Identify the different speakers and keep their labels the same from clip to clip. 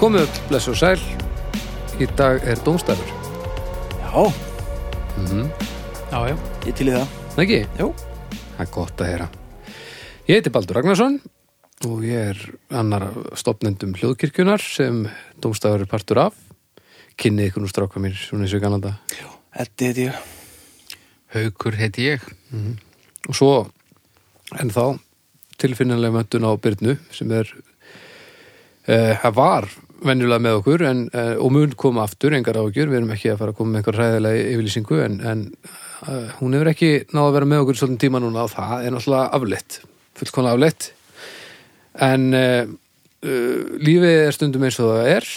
Speaker 1: Komið upp, bless og sæl Í dag er dómstæður
Speaker 2: Já,
Speaker 3: Já, já.
Speaker 2: ég til í það.
Speaker 1: Nei ekki?
Speaker 2: Jú.
Speaker 1: Það er gott að heyra Ég heiti Baldur Ragnarsson og ég er annar af stopnendum hljóðkirkjunar sem dómstæður er partur af Kynnið ykkur nú stráka mér svona eins og kannanda
Speaker 2: Eddi heiti ég.
Speaker 3: Haukur heiti ég.
Speaker 1: Mhm. og svo en þá tilfinnilega möttun á Byrnu sem er eh, það var venjulega með okkur en, eh, og mun koma aftur, engar ágjur við erum ekki að fara að koma með eitthvað ræðilega yfirlýsingu en, en eh, hún hefur ekki náð að vera með okkur í svolítið tíma núna og það er náttúrulega afleitt, fullkona afleitt en eh, eh, lífið er stundum eins og það er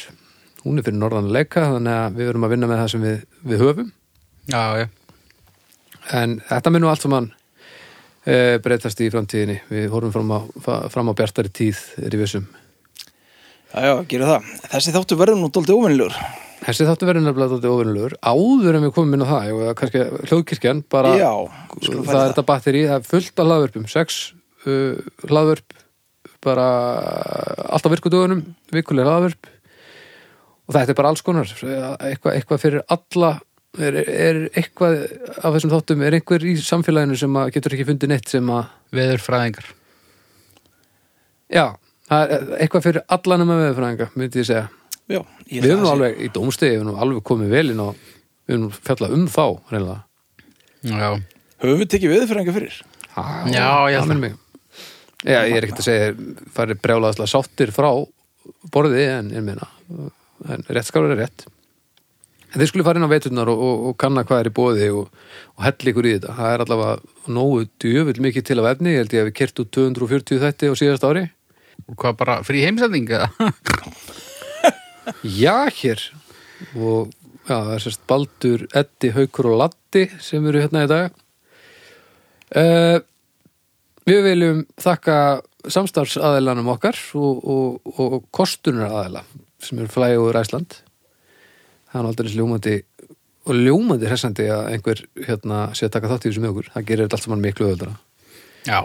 Speaker 1: hún er fyrir norðan að leika þannig að við verum að vinna með það sem við, við höfum
Speaker 3: Já, já.
Speaker 1: en þetta mun nú allt saman e, breytast í framtíðinni við horfum fram á, fa- fram á bjartari tíð er í vissum.
Speaker 2: Já, já, gerum það. Þessi þáttu verður nú dóldi óvennilegur.
Speaker 1: Þessi þáttu verður nefnilega þetta ofinlegur áður en við komum inn á það og kannski hljóðkirkjan bara
Speaker 2: Já, skulum fara í Sko,
Speaker 1: það er
Speaker 2: það.
Speaker 1: þetta batteri, það er fullt af hlaðvörpum sex uh, hlaðvörp bara uh, alltaf virkudugunum, vikulega hlaðvörp og þetta er bara alls konar eitthvað, eitthvað fyrir alla er, er eitthvað af þessum þáttum er einhver í samfélaginu sem að getur ekki fundið neitt sem að
Speaker 3: Veðurfræðingar.
Speaker 1: Já, það er eh, eitthvað fyrir allanum að veðurfræðinga, myndi ég segja.
Speaker 2: Já, ég
Speaker 1: Við
Speaker 2: ætla
Speaker 1: höfum
Speaker 2: að
Speaker 1: alveg í dómstegi, við höfum alveg komið vel inn á, við höfum fjallað um þá, reynilega.
Speaker 3: Já.
Speaker 2: sé- Höfum við tekið veðurfræðinga fyrir?
Speaker 1: Já,
Speaker 3: Já, ég held
Speaker 1: það. Já, ég er ekkert að segja, það er brjálaðslega sáttir frá borði, en ég meina, en rétt skálar er rétt. En þeir skulle fara inn á veturnar og, og, og kanna hvað er í bóði og, og hell ykkur í þetta. Það er allavega nógu djöfull mikið til af efni, ég held ég að við kert út 240 þetta á síðast ári.
Speaker 3: Og hvað bara, frí heimsendinga?
Speaker 1: Já, hér og já, það er sérst Baldur, Eddi, Haukur og Latti sem eru hérna í dag uh, Við viljum þakka samstarfsaðilanum okkar og, og, og, og kostunaraðila sem eru flæði úr Æsland Það er aldrei ljúmandi og ljúmandi hressandi að einhver hérna sé að taka þátt í þessu með okkur það gerir þetta allt saman miklu öðvöldara
Speaker 3: Já.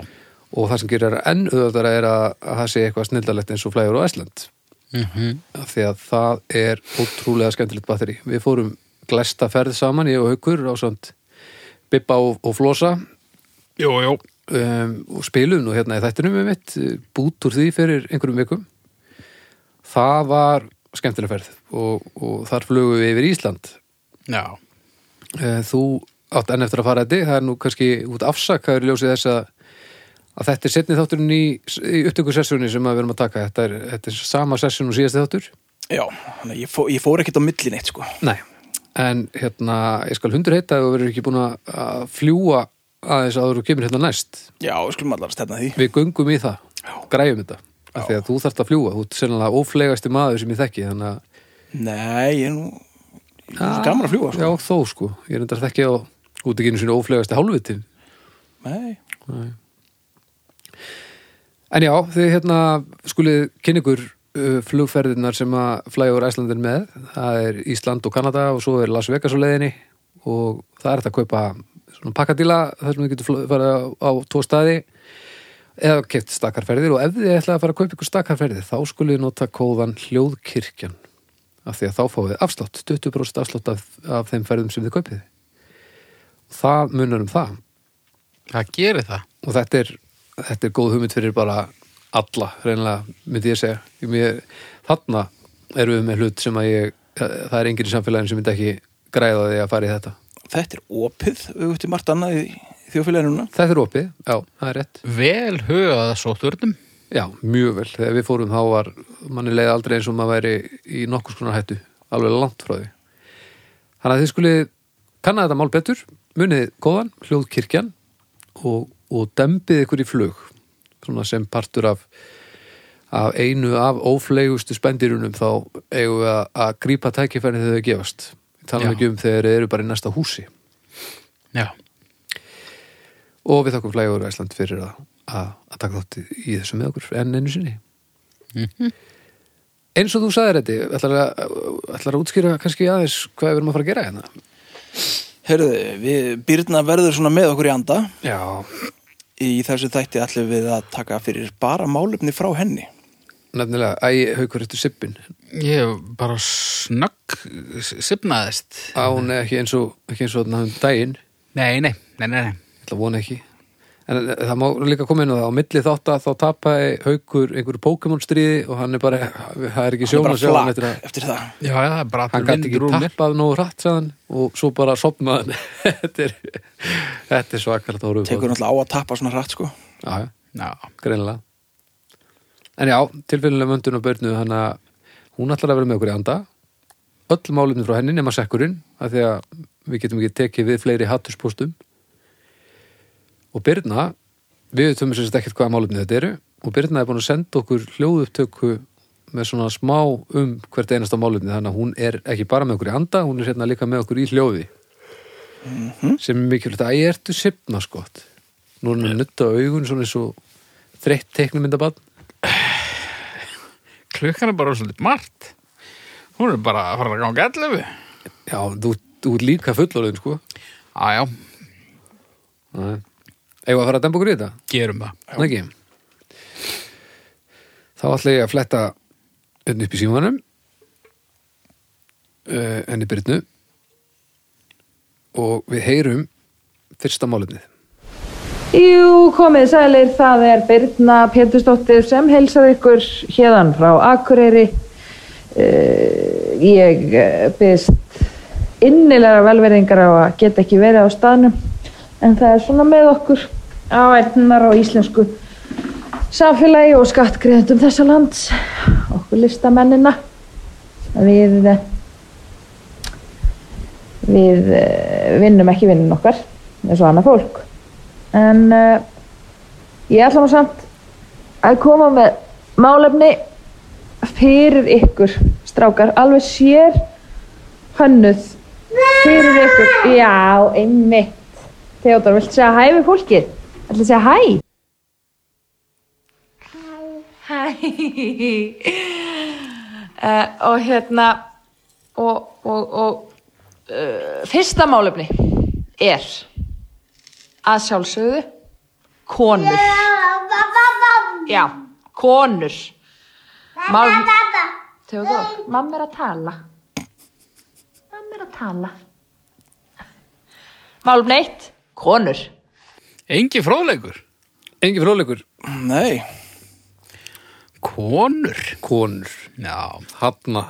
Speaker 1: og það sem gerir þetta enn öðvöldara er að, að það sé eitthvað snildalegt eins og flæði úr Æsland
Speaker 3: Mm
Speaker 1: af því að það er ótrúlega skemmtilegt batteri. Við fórum glæsta ferð saman, ég og Haukur á samt Bibba og, og Flosa
Speaker 3: Jú, jú.
Speaker 1: um, og spilum nú hérna í þættinum með mitt bút úr því fyrir einhverjum vikum það var skemmtileg ferð og, og þar flugum við yfir Ísland
Speaker 3: Já.
Speaker 1: Eh, þú átt enn eftir að fara þetta það er nú kannski út afsakaður í ljósið þess að að þetta er setni þátturinn í, í upptöku sessjóni sem að við erum að taka þetta er, þetta er sama sessjón og síðasti þáttur
Speaker 2: Já, þannig að ég, fó, ég fór ekkert á millin eitt, sko.
Speaker 1: Nei, en hérna ég skal hundur heita og verður ekki búin að- að fljúa aðeins áður og kemur hérna næst
Speaker 2: Já, við skulum allar að stefna því.
Speaker 1: við göngum í það,
Speaker 2: Já.
Speaker 1: græjum þetta af því að þú þarft að fljúa, þú ert sennilega óflegasti maður sem ég þekki, þannig að
Speaker 2: Nei, ég er nú... Ég er svo gaman að fljúa, sko.
Speaker 1: Já, þó sko, ég er endar þekki á út ekki einu sinni óflegasti hálfvitin
Speaker 2: Nei.
Speaker 1: En já, þið hérna skulið kynna ykkur uh, flugferðirnar sem að flæja úr Æslandin með. Það er Ísland og Kanada og svo er Las Vegas á leiðinni og það er þetta að kaupa svona pakkadíla þar sem þið getur fl- farið á, á tvo staði eða keft stakkarferðir og ef þið ætlaði að fara að kaupa ykkur stakkarferðir þá skulið þið nota kóðan hljóðkirkjan af því að þá fáið þið afslátt, 20% afslátt af, af þeim ferðum sem þið kaupið. Það munar um það
Speaker 3: Það gerir það.
Speaker 1: og þetta er, þetta er góð hugmynd fyrir bara alla, reynilega myndi ég segja Ég- mér, þarna erum við með hlut sem að ég það það er enginn í samfélaginu sem myndi ekki græða því að fara í þetta
Speaker 2: Þetta er opið, við út í margt annað í þjófélaginu núna.
Speaker 1: þetta er opið, já, það er rétt
Speaker 3: Vel hugað sótturnum.
Speaker 1: já, mjög vel, þegar við fórum þá var manni leið aldrei eins og maður væri í nokkus konar hættu, alveg langt frá því þannig að þið skulið kanna þetta mál betur, munið góðan hljóðkirkjan og, og dembið ykkur í flug svona sem partur af af einu af óflegustu spendirunum þá eigum við að, að grípa tækifærin þegar þau gefast Ég tala
Speaker 3: Já.
Speaker 1: ekki um þegar þeir eru bara í næsta húsi
Speaker 3: Já.
Speaker 1: og við þakkum flægur Æsland fyrir að, að, að taka þátt í, í þessu með okkur enn einu sinni eins og þú sagðir þetta ætlar að, ætlar að útskýra kannski aðeins hvað við erum að fara að gera hérna
Speaker 2: Herðu, við Byrna verður svona með okkur í anda.
Speaker 1: já,
Speaker 2: Í þessu þætti ætlum við að taka fyrir bara málefni frá henni.
Speaker 1: nefnilega, æ, haukur, þetta er sippin
Speaker 3: Ég bara snögg sipnaðist.
Speaker 1: á, nei, ekki eins og ekki eins og þarna um daginn,
Speaker 3: Nei, nei, nei, nei, nei.
Speaker 1: ég ætla að vona ekki en eh, það má líka koma inn á það á milli þátt að þá tapaði haukur einhverju Pokémon stríði og hann er bara það er ekki
Speaker 2: Hann er
Speaker 1: sjóna
Speaker 2: bara
Speaker 1: sjá hann
Speaker 2: flak
Speaker 1: eftir að
Speaker 2: eftir það
Speaker 3: Já, já, það er bara
Speaker 1: hann
Speaker 3: allur
Speaker 1: gæti
Speaker 3: vindur
Speaker 1: ekki
Speaker 3: úr mér.
Speaker 1: tappað nógu rætt sagðan og svo bara sopnaðan þetta er, þetta er svakalega tóru
Speaker 2: Tekur náttúrulega á að tappa svona hratt sko
Speaker 1: já, já
Speaker 3: Já,
Speaker 1: greinilega en já, tilfélunlega möndun og börnu hann að hún ætlar að vera með okkur í anda öll málefni frá henni nema sekkurinn af því að við getum ekki tekið við fleiri hattuspóstum og Birna við þum sem sagt ekkert hvaða málefni þetta eru og Birna er búin að senda okkur hljóðupptöku með svona smá um hvert einasta málefni þannig að hún er ekki bara með okkur í anda hún er hérna líka með okkur í hljóði sem er mikilvægt að ég ertu sipna skott nú er hann að nutta augun svona eins og þreytt teiknumyndabann
Speaker 3: klukkan er bara svolítið margt. Hún er bara að fara að ganga 11.
Speaker 1: Já, þú, þú ert líka fullorðin sko
Speaker 3: Já, já,
Speaker 1: Nei. Eigum við að fara að dempa okkur í þetta?
Speaker 3: gerum það.
Speaker 1: Nei ekki Þá ætla ég að fletta henni upp í símanum uh, henni Byrnu og við heyrum fyrsta málefnið
Speaker 4: Jú, komið sælir, það er Birna Pétursdóttir sem heilsar ykkur hérðan frá Akureyri. Uh, ég eh, biðst innilega velverðingar á að geta ekki verið á staðnum, en það er svona með okkur á ennar á íslensku samfélagi og skattgreðendum þessa lands, okkur listamennina. Við, eh, við eh, vinnum ekki vinnun okkar, eins og annað fólk. En uh, ég ætla nú samt að koma með málefni fyrir ykkur strákar, alveg sér hönnuð fyrir ykkur. Já, einmitt. Theodor, viltu segja hæ við fólkið? Ætla að segja hæ?
Speaker 5: Hæ uh, Og hérna og, og, og uh, fyrsta málefni er að sjálfsögðu konur Já, konur Mál... Theodor, mamma er að tala Mamma er að tala Málefni eitt, konur
Speaker 3: Engi fróðleikur.
Speaker 1: Engi fróðleikur
Speaker 2: Nei,
Speaker 3: Konur.
Speaker 1: Konur,
Speaker 3: Já,
Speaker 1: Hanna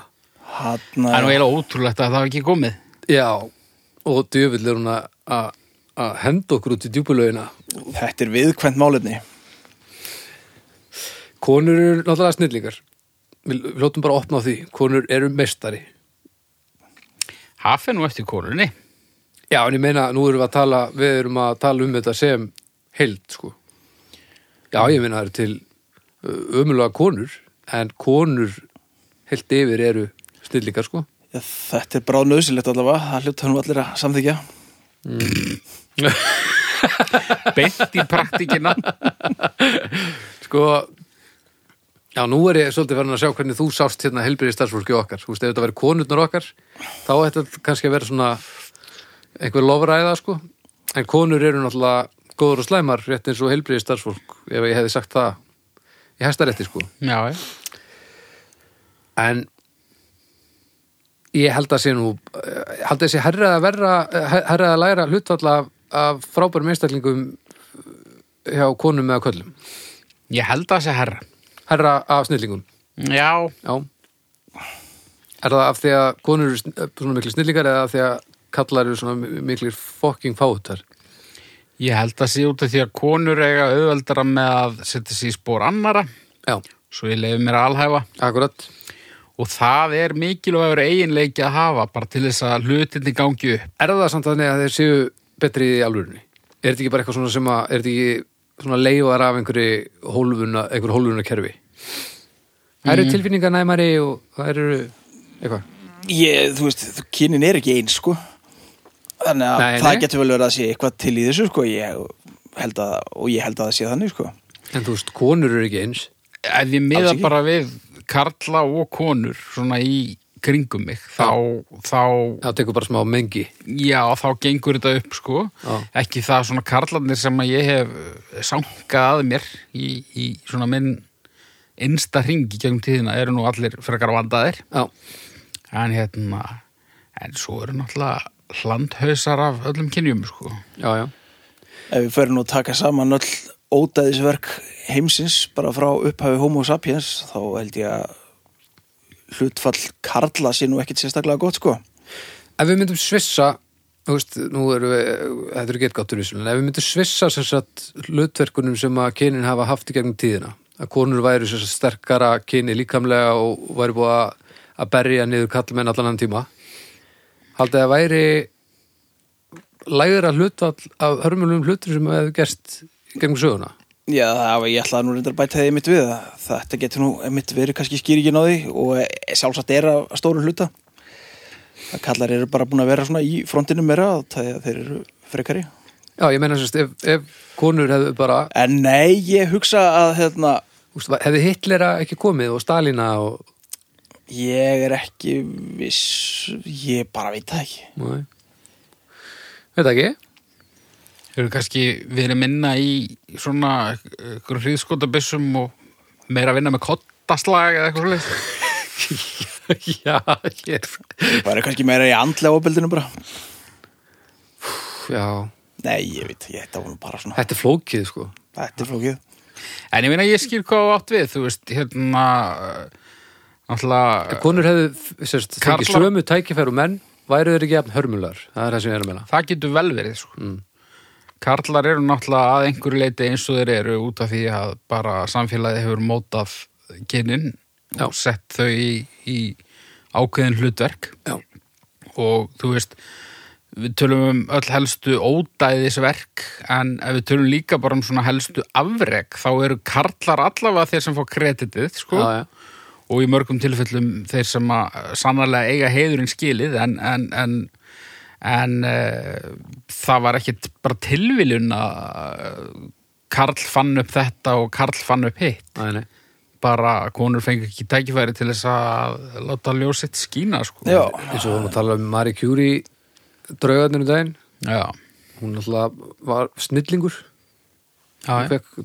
Speaker 2: hann eh,
Speaker 3: það er nú eiginlega ótrúlegt að það hafi ekki komið.
Speaker 1: Já, og djöfull er hún að- að að henda okkur út í djúpulaugina
Speaker 2: Þetta er viðkvæmt málefni
Speaker 1: Konur eru náttúrulega snillingar Við, við lótum bara opna á því Konur eru meistari
Speaker 3: Haf er nú eftir konunni.
Speaker 1: Já, en ég meina, nú erum við að tala Við erum að tala um þetta sem heild, sko Já, ég meina það eru til ömulega konur En konur heilt yfir eru snillingar, sko
Speaker 2: Þetta er bráð nöðsilegt allavega Það hljóta hann allir að samþykja
Speaker 3: Beint í praktikina.
Speaker 1: Sko Já, nú er ég svolítið farin að sjá hvernig þú sást hérna helbriði starfsfólki okkar. Þú veist, ef þetta verið konurnar okkar, þá ætti þetta kannski að vera svona einhver lofræða, sko. En konur eru náttúrulega góður og slæmar, rétt eins og helbriði starfsfólk, ef ég hefði sagt það í hæstarétti, sko.
Speaker 3: Já, já.
Speaker 1: En ég held að sé nú, eh, held að sé herrað að verra, eh, herrað að læra hlutfalla af, af frábærum einstaklingum hjá konum eða köllum.
Speaker 3: Ég held að það sé herra.
Speaker 1: Herra af snillingum.
Speaker 3: Já,
Speaker 1: Já. Er það af því að konur eru sn- eh, svona miklu snillingar eða af því að kallar eru svona mi- miklir fucking fátar?
Speaker 3: ég held að sé út af því að konur eiga auðveldara með að setja sig í spór annara,
Speaker 1: Já,
Speaker 3: svo ég leiði mér að alhæfa.
Speaker 1: akkurat.
Speaker 3: Og það er mikilvægur eiginleiki að hafa bara til þess að hlutinni gangi upp.
Speaker 1: Er það samt þannig að þeir séu betri í alvörunni? Er þetta ekki bara eitthvað svona sem að, er þetta ekki svona leifar af einhverju hólfuna, einhverju hólfuna kerfi? Það eru tilfinningar næmari og það eru eitthvað.
Speaker 2: Ég, þú veist, þú- kynin er ekki eins sko Þannig að
Speaker 1: Nei,
Speaker 2: það
Speaker 1: nei.
Speaker 2: getur vel verið að sé eitthvað til í þessu sko ég held að, Og ég held að það sé þannig sko
Speaker 1: En þú veist, konur eru ekki eins.
Speaker 3: Ef ég
Speaker 2: Alls
Speaker 3: miða
Speaker 2: ekki.
Speaker 3: bara við karla og konur svona í kringum mig, þá, þá
Speaker 1: Það tekur bara smá mengi.
Speaker 3: Já, þá gengur þetta upp sko
Speaker 1: Já.
Speaker 3: ekki það svona karlarnir sem að ég hef eh, sankað að mér í, í svona minn einsta ringi gegnum tíðina eru nú allir frekar vandaðir
Speaker 1: já,
Speaker 3: en hérna, en svo eru náttúrulega hlandhausar af öllum kynjum sko.
Speaker 1: já, já,
Speaker 2: Ef við förum nú að taka saman öll ódæðisverk heimsins bara frá upphafi homo sapiens þá held ég að hlutfall karla sé nú ekkit sérstaklega gott sko.
Speaker 1: ef við myndum svissa þú veist, nú eru við þetta eru getgáttur í svona, en ef við myndum svissa sem sagt hlutverkunum sem að kynin hafa haft í gegnum tíðina, að konur væru sem sagt sterkara kyni líkamlega og væri búið að, að berja niður kallmenn allan hann tíma haldið að væri lægra hlutvall af hörmulum hlutur sem hefur gerst í gegnum söguna
Speaker 2: Já, það var ég ætlaði nú reyndar að bæta þið mitt við að þetta getur nú mitt verið kannski skýringin á því og eh, sjálfsagt er að að stóru hluta að kallar eru bara búin að vera svona í frontinu meira að það- þeir eru frekari
Speaker 1: Já, ég meina sem sagt, ef, ef konur hefðu bara,
Speaker 2: En nei, ég hugsa að hérna,
Speaker 1: þú veist, hefði Hitlera ekki komið og Stalina og
Speaker 2: ég er ekki viss, ég bara veit það ekki
Speaker 1: Nei. Veit það ekki?
Speaker 3: Hefur kannski verið minna í svona ykkur hríðskotabissum og meira að vinna með kottaslag eða eitthvað svolítið.
Speaker 1: Já, ég
Speaker 2: Það eru kannski meira í andlega ofbeldinu bara
Speaker 1: Já,
Speaker 2: Nei, ég veit, ég þetta var nú bara svona
Speaker 1: þetta er flókið sko
Speaker 2: Þetta er flókið
Speaker 3: En ég meina ég skil hvað þú átt við, þú veist, hérna, náttúrulega,
Speaker 1: Konur hefðu sérst, fengið
Speaker 3: Karlar-
Speaker 1: sömu tækifæru menn væru þeir ekki jafn hörmular það er það sem ég er að menna
Speaker 3: það getur vel verið, sko.
Speaker 1: Mm.
Speaker 3: Karlar eru náttúrulega að einhverju leiti eins og þeir eru út af því að bara samfélagið hefur mótað kynin
Speaker 1: Já.
Speaker 3: og sett þau í, í ákveðin hlutverk.
Speaker 1: Já,
Speaker 3: og þú veist við tölum um öll helstu ódæðisverk en ef við tölum líka bara um svona helstu afrek þá eru karlar allavega þeir sem fá kreditið sko
Speaker 1: já, já.
Speaker 3: og í mörgum tilfellum þeir sem að sannarlega eiga heiðurinn skilið en, en, en, en uh, það var ekkit bara tilviljun að eh, karl fann upp þetta og karl fann upp hitt
Speaker 1: Æ, nei.
Speaker 3: bara konur fengi ekki tækifæri til þess að láta ljósitt skína sko
Speaker 2: Já,
Speaker 1: Eins og við vorum að tala um Marie Curie draugarnir um daginn
Speaker 3: já,
Speaker 1: hún alltaf var snillingur
Speaker 3: já,
Speaker 1: hún fekk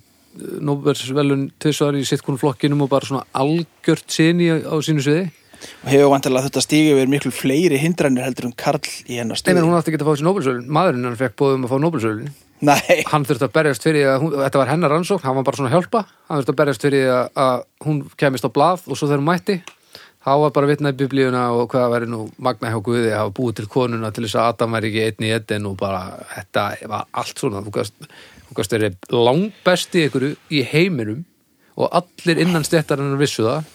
Speaker 1: Nóbersvelun tvisvar í sitt konum flokkinum og bara svona algjört sinni á sínu sviði
Speaker 2: og hefur vantilega þetta stígi við miklu fleiri hindranir heldur en karl í hennar
Speaker 1: Nei,
Speaker 2: stöðu
Speaker 1: menn hún átti ekki að fá þessi Nóbelsölun maðurinn hann fekk bóðum um að fá Nóbelsölun
Speaker 2: Nei,
Speaker 1: hann þurfti að berjast fyrir því að hún, þetta var hennar rannsókn, hann var bara svona að hjálpa hann þurfti að berjast fyrir því að, að hún kemist á blað og svo þegar hún mætti þá var bara vitnað í biblíuna og hvað væri nú magna hjá Guði að hafa búið til konuna til þess að Adam væri ekki einn í einn og bara þetta var allt svona þú gast, þú gast verið langbesti ykkur í heiminum og allir innan stéttar hennar vissu það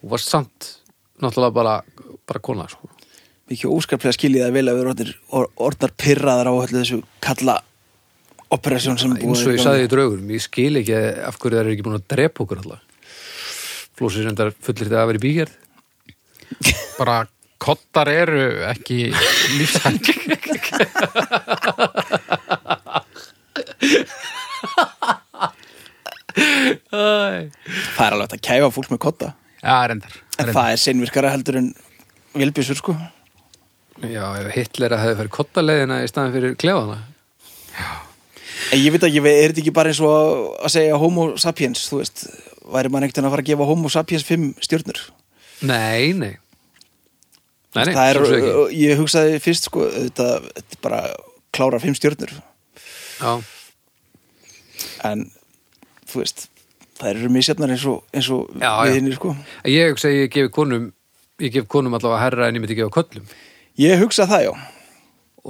Speaker 1: og var samt náttúrulega bara, bara kona sko.
Speaker 2: mikið óskaplega skiljið að vilja vera orðnir, or- orðnar pyrraðar á öllu þessu kalla operasjón sem
Speaker 1: eins
Speaker 2: er
Speaker 1: og ég
Speaker 2: gangi.
Speaker 1: saði í draugurum, ég skil ekki af hverju það er ekki búin að drepa okkur alltaf flósið sem það fullir þetta að vera í bígerð
Speaker 3: bara kottar eru ekki lífsætt
Speaker 2: Það er alveg hægt að kæfa fólk með kotta
Speaker 3: Já, reyndar,
Speaker 2: En
Speaker 3: reyndar.
Speaker 2: það er seinvirkara heldur en vilbjusur sko
Speaker 1: Já, ef Hitlera hefði farið kottaleiðina í staðan fyrir klefana
Speaker 2: En ég veit ekki, er þetta ekki bara eins og að segja homo sapiens, þú veist Væri maður einhvern veginn að fara að gefa homo sapiens 5 stjörnur
Speaker 1: Nei, nei Nei, nei,
Speaker 2: Það er,
Speaker 1: sjálfsögðu ekki
Speaker 2: ég hugsaði fyrst sko, þetta, þetta er bara klára 5 stjörnur
Speaker 1: Já,
Speaker 2: En, þú veist, það eru misjafnar eins og, eins og
Speaker 1: Já, já.
Speaker 2: við hinn sko
Speaker 1: ég hugsa að ég gefi konum ég gef konum allavega herra en ég myndi gefa köllum
Speaker 2: Ég hugsa það, já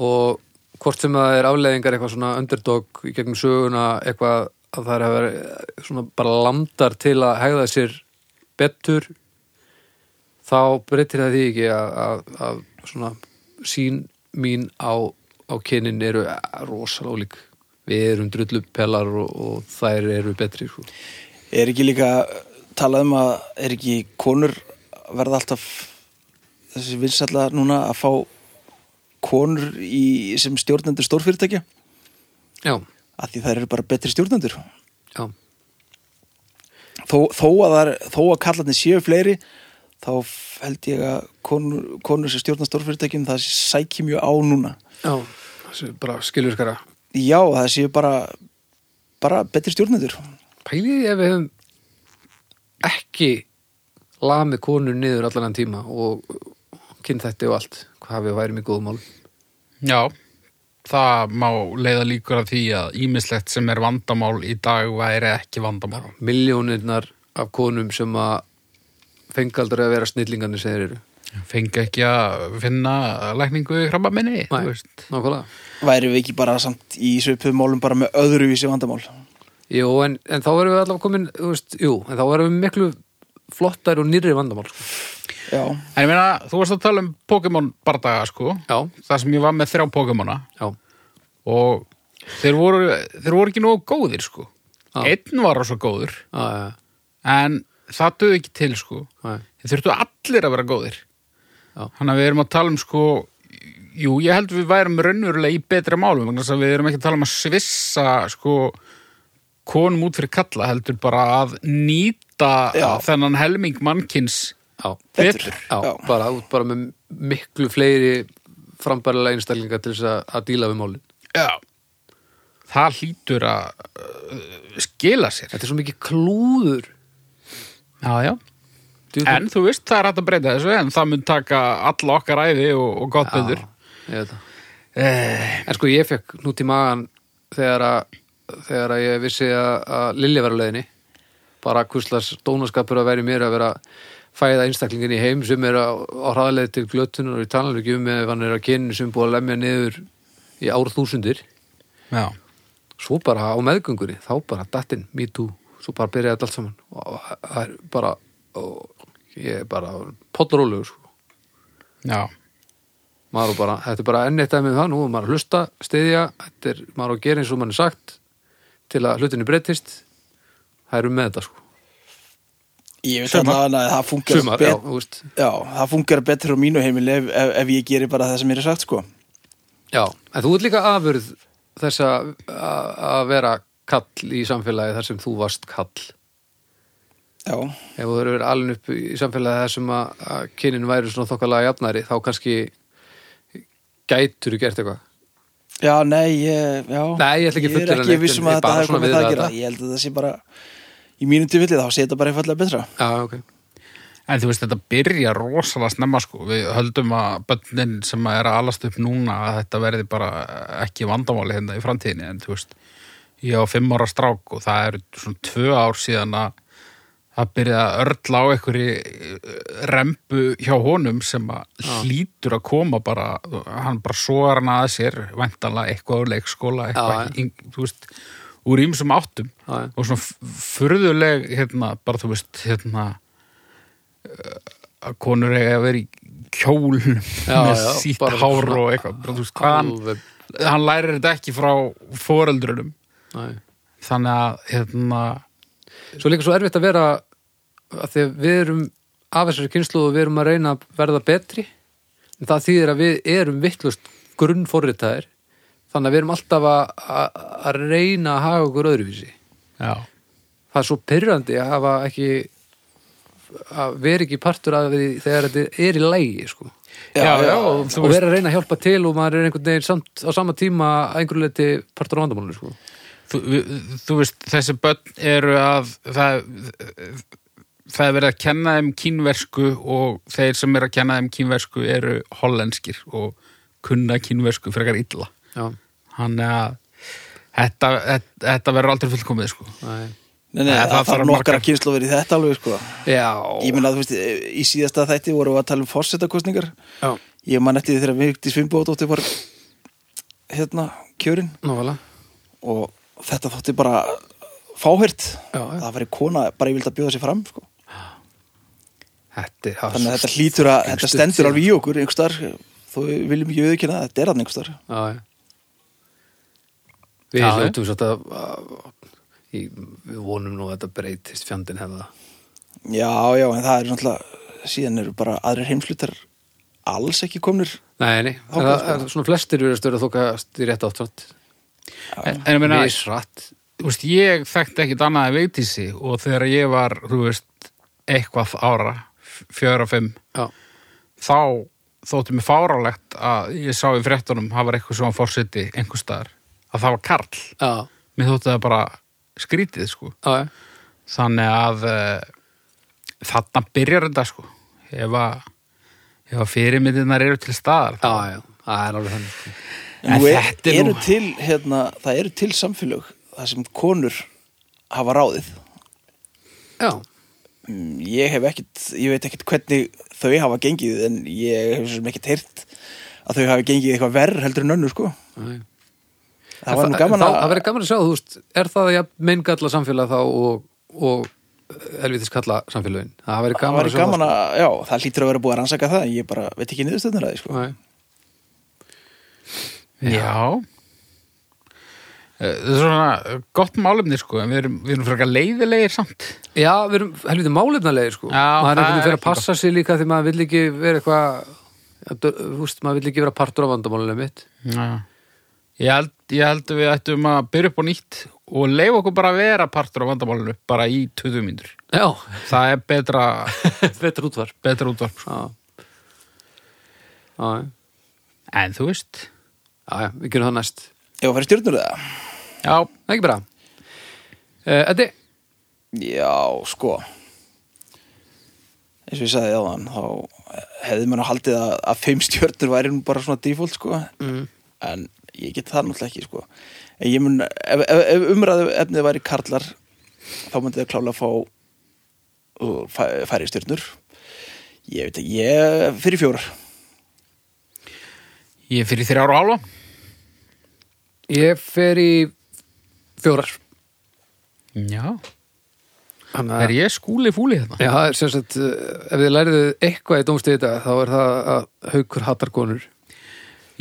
Speaker 1: og hvort sem það er afleiðingar eitthvað svona underdog í gegnum söguna eitthvað að það er að vera eh, svona bara landar til að hegða sér betur þá breytir það því ekki að, að, að svona sín mín á, á kynin eru rosalega ólík við erum drullupelar og, og þær eru betri sko.
Speaker 2: Er ekki líka talað um að er ekki konur verða alltaf þessi vinsalla núna að fá konur í, sem stjórnendur stórfyrirtækja
Speaker 1: já,
Speaker 2: að því það eru bara betri stjórnendur
Speaker 1: já,
Speaker 2: þó, þó að, það er- þó að kallarnir séu fleiri þá f- held ég að konur, konur sem stjórna stórfyrirtækjum það sæki mjög á núna
Speaker 1: já þessi bara skilurkara
Speaker 2: já það séu bara bara betri stjórnendur
Speaker 1: pæliði ef við hefum ekki lamið konur niður allan þann tíma og kynþætti og allt hvað við værum í góðum málum
Speaker 3: Já, það má leiða líkur að því að ímislegt sem er vandamál í dag væri ekki vandamál.
Speaker 1: miljónirnar af konum sem að fengaldri að vera snillingarnir sem þeir eru
Speaker 3: Fengi ekki að finna lækningu í krabba minni, þú
Speaker 1: Nei,
Speaker 3: veist.
Speaker 1: nákvæmlega
Speaker 2: Væri við ekki bara samt í svipuðum málum bara með öðruvísi vandamál
Speaker 1: Jú, en, en þá erum við allavega komin þú veist, Jú, en þá erum við miklu flottar og nýrri vandamál sko.
Speaker 2: Já,
Speaker 3: En ég meina, þú varst að tala um Pokémon bardaga, sko.
Speaker 1: Já,
Speaker 3: Það sem ég var með þrjá Pokémona
Speaker 1: já,
Speaker 3: og þeir voru, þeir voru ekki nógu góðir, sko.
Speaker 1: Já.
Speaker 3: Einn var svo góður,
Speaker 1: já, já,
Speaker 3: en það duði ekki til, sko.
Speaker 1: já,
Speaker 3: Þeir þurftu allir að vera góðir.
Speaker 1: Já.
Speaker 3: Þannig að við erum að tala um, sko, jú, ég held við værum raunverulega í betra málum, vegna þess að við erum ekki að tala um að svissa, sko, konum út fyrir kalla, heldur bara að nýta
Speaker 2: Já.
Speaker 3: þennan helming mannkins
Speaker 1: já,
Speaker 3: betur.
Speaker 1: já,
Speaker 2: Já.
Speaker 1: Bara, út- bara með miklu fleiri frambærilega einstaklingar til þess að, að díla við málin
Speaker 3: Já. Það hlýtur að uh, skila sér.
Speaker 1: Þetta er svo mikið klúður
Speaker 3: Já, já.
Speaker 1: djú-
Speaker 3: En þú veist, það er hægt að breyta þessu, en það mun taka alla okkar æfi og, og gott betur.
Speaker 1: Ég veit það. En sko ég fekk nút í magan þegar að, þegar að ég vissi að, að Lilja var á leiðinni bara kurslas dónaskapur að vera í mér að vera að fæða einstaklingin í heim sem er á, á hraðlega til glötunar og í talanlegjum með um ef hann er að kynni sem er búið að lemja niður í árþúsundir
Speaker 3: Já.
Speaker 1: svo bara á meðgöngunni, þá bara dattinn, me too, svo bara byrjaði þetta allt saman og það er bara og ég er bara pollrólegur sko
Speaker 3: Já.
Speaker 1: maður á bara, þetta er bara enn eitt dæmið um það, nú er maður að hlusta, stiðja þetta er maður á að gera eins og mann er sagt til að hlutinu breytist það eru með þetta sko
Speaker 2: ég veit
Speaker 3: Sumar.
Speaker 2: allavega að það fungerar
Speaker 1: sumar, já,
Speaker 2: bet-
Speaker 1: þú veist
Speaker 2: Já, það fungerar betur á mínu heimili ef, ef, ef ég gerir bara það sem mér er sagt sko
Speaker 1: já, en þú ert líka afurð þess að að vera kall í samfélagi þar sem þú varst kall
Speaker 2: Já,
Speaker 1: ef þú eru verið alveg upp í samfélagi þar sem að, að kynin væri svona þokkalega jafnari þá kannski gætur þú gert eitthvað
Speaker 2: já, nei, ég, já
Speaker 1: Nei, ég ætla
Speaker 2: Ég
Speaker 1: ekki að
Speaker 2: er
Speaker 1: fullyrða
Speaker 2: ekki
Speaker 1: neitt,
Speaker 2: viss um að
Speaker 1: en ég bara
Speaker 2: þetta hafi
Speaker 1: svona
Speaker 2: komið það að
Speaker 1: viðraði
Speaker 2: gera
Speaker 1: þetta.
Speaker 2: Ég held að það sé bara í mínum tilfelli þá sé þetta bara einfallega betra
Speaker 1: já, ok,
Speaker 3: En þú veist, þetta byrja rosalega snemma sko. Við höldum að bönnin sem er að alast upp núna að þetta verði bara ekki vandamáli hérna í framtíðinni en þú veist, ég á fimm ára strák og það eru svona tvö ár síðan að það byrja að örla á einhverju eh, rembu hjá honum sem að hlýtur að koma bara, hann bara sogar hann að sér væntanlega eitthvað á leikskóla
Speaker 1: Já,
Speaker 3: eitthvað, ja. þú veist, úr ímsum áttum
Speaker 1: Já, já.
Speaker 3: og svona f- furðuleg hérna, bara þú veist, hérna að konur eiga að vera í kjól
Speaker 1: Já,
Speaker 3: með
Speaker 1: já,
Speaker 3: sítt
Speaker 1: bara
Speaker 3: hár
Speaker 1: svona
Speaker 3: og eitthvað bara, þú veist, hvað hann,
Speaker 1: alveg-
Speaker 3: hann lærir þetta ekki frá foreldrunum
Speaker 1: næ
Speaker 3: þannig að hérna,
Speaker 1: Svo er líka svo erfitt að vera að því að við erum af þessari kynslu og við erum að reyna að verða betri en það þýðir að við erum vittlust grunnforritaðir þannig að við erum alltaf að, að, að reyna að haga okkur öðruvísi
Speaker 3: já,
Speaker 1: það er svo pyrrandi að hafa ekki að vera ekki partur af því þegar þetta er í lægi sko.
Speaker 3: já, já, og þú
Speaker 1: og
Speaker 3: veist
Speaker 1: vera að reyna að hjálpa til og maður er einhvern veginn samt, á sama tíma að einhverju leiti partur á vandamálunum sko.
Speaker 3: þú, við- þú veist, þessi börn eru að það, það er verið að kenna þeim kínversku og þeir sem eru að kenna þeim kínversku eru hollenskir og kunna kínversku frekar illa
Speaker 1: Já,
Speaker 3: þannig að þetta, þetta, þetta verður aldrei fullkomið sko.
Speaker 1: næ.
Speaker 2: Nei, nei,
Speaker 3: Nei,
Speaker 2: það,
Speaker 3: það
Speaker 2: það
Speaker 3: þarf
Speaker 2: þarf nokkara
Speaker 3: margar-
Speaker 2: kynslu verið í þetta alveg sko Ég
Speaker 1: Já.
Speaker 2: meina að þú veist, í síðasta þætti vorum við að tala um fórsetakostningar
Speaker 1: Já.
Speaker 2: Ég man eftir því þegar Vigdís Finnbóðdóttir var hérna, kjörin
Speaker 1: Nóvala
Speaker 2: og þetta þótti bara fáhært
Speaker 1: Já, já.
Speaker 2: það væri kona bara ég vildi að bjóða sér fram sko.
Speaker 1: Þetta, er-
Speaker 2: þannig að þetta hlýtur að, þetta stendur alveg í okkur einhverstar, þó við viljum ekki auðvitað þetta er hann einhverstar
Speaker 1: Já, já. Við
Speaker 3: Já, já.
Speaker 1: hljóttum svo að, að, að við vonum nú að þetta breytist fjandinn hefða.
Speaker 2: já, já, en það er náttúrulega síðan eru bara aðrir heimslutar alls ekki komnir
Speaker 1: Nei, nei,
Speaker 2: Ákveð,
Speaker 1: það,
Speaker 2: sko.
Speaker 1: það, svona flestir eru að störa þókast í rétt áttrætt.
Speaker 3: en, en ég meina,
Speaker 1: Misrætt.
Speaker 3: þú veist, ég þekkti ekkit annað en veitísi og þegar ég var, þú veist, eitthvað ára, fjöra, fimm,
Speaker 1: Já,
Speaker 3: þá þótti mér fárálegt að ég sá í fréttunum, það var eitthvað svona fórseti einhvers staðar, að það var karl.
Speaker 1: já,
Speaker 3: Mér þótti það bara skrítið, sko.
Speaker 1: já, já.
Speaker 3: Þannig að, eh, þarna byrjar þetta sko ef að, ef að fyrirmyndirnar eru til staðar
Speaker 1: já, já, það er alveg þannig sko.
Speaker 3: En
Speaker 2: Nú er,
Speaker 3: þetta er nú-
Speaker 2: eru til, hérna, það eru til samfélög þar sem konur hafa ráðið
Speaker 1: Já,
Speaker 2: Mm, ég hef ekkit, ég veit ekkit hvernig þau hafa gengið en ég hef sem ekkit heyrt að þau hafi gengið eitthvað verð heldur en önnu sko
Speaker 1: nei.
Speaker 2: það var
Speaker 1: En
Speaker 2: nú gaman
Speaker 1: þá- Það
Speaker 2: að
Speaker 1: verður gaman að sjá, þú veist, er það ja, meingalla samfélag þá og, og helvitis kalla samfélagin Það verður
Speaker 2: það
Speaker 1: gaman
Speaker 2: var
Speaker 1: að sjá
Speaker 2: gaman
Speaker 1: það, sko.
Speaker 2: að, já, það hlýtur að vera búið að rannsaka það en ég bara veit ekki niðurstöðnir að því sko
Speaker 1: sko. Nei.
Speaker 3: Já Eh, Það er svona gott málefni sko en við erum, við erum frekar leiðilegir samt
Speaker 1: Já, við erum helviti málefnalegir sko
Speaker 3: Já,
Speaker 1: maður er
Speaker 3: það
Speaker 1: einhvern
Speaker 3: er
Speaker 1: veginn fyrir að
Speaker 3: ekki
Speaker 1: passa sig líka því maður vill ekki vera eitthvað þú veist, maður vill ekki vera partur á vandamálinu mitt
Speaker 3: Já. Ég held, ég held að við ættum að byrja upp á nýtt og leifa okkur bara að vera partur á vandamálinu bara í 20 mínútur
Speaker 1: Já,
Speaker 3: Það er betra,
Speaker 1: betur útvarp
Speaker 3: betra útvarp sko.
Speaker 1: Já, já, já,
Speaker 3: En þú veist
Speaker 1: já, við gerum það næst
Speaker 2: ég var fyrir stjórnur það
Speaker 3: Já,
Speaker 1: Það er ekki bra Eh, Eddi,
Speaker 2: Já, sko eins og ég sagði áðan þá hefði mér nú haldið að, að fimm stjörnur væri nú bara svona default sko mm. en ég get það náttúrulega ekki sko en ég mun, ef, ef, ef umræðu efnið væri karlar þá myndi það klála að fá uh, fæ- færri stjörnur ég veit ekki, ég fyrir fjórar
Speaker 3: ég er fyrir þrjára hálfa
Speaker 1: ég fer í fjórar
Speaker 3: Já,
Speaker 1: Þannig að-
Speaker 3: er ég skúli fúli hérna. þetta?
Speaker 1: Já, það er sem sagt, eh, ef þið læriðu eitthvað í dómstíð þetta, þá er það að haukur hattar konur.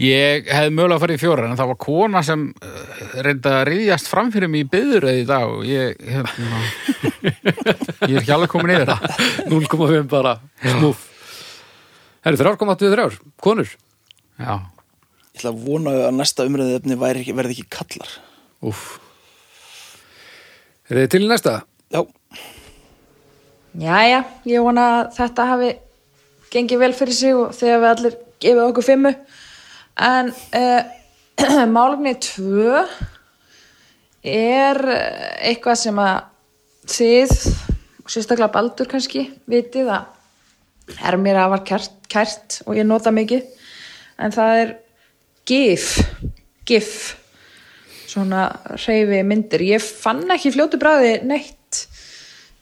Speaker 3: Ég hefði mögulega að fara í fjóra en það var kona sem uh, reynda að ríðjast fram fyrir mig í byðuröð í dag og ég, hérna, ég er ekki alveg komin yfir það
Speaker 1: 0,5 bara, smúf. Það eru 3,23, konur.
Speaker 3: Já,
Speaker 2: ég ætla að vona að næsta umræðu efnið væri ekki- verði ekki kallar
Speaker 1: Úff. Er þið til í næsta?
Speaker 2: Já,
Speaker 5: Jæja, ég vona að þetta hafi gengið vel fyrir sig og þegar við allir gefið okkur fimmu. En uh, málumni tvö er eh, eitthvað sem að þið, og sérstaklega Baldur kannski, vitið að er mér afar kært, kært og ég nota mikið. En það er GIF, GIF, svona hreyfi myndir. Ég fann ekki í fljótu bræði neitt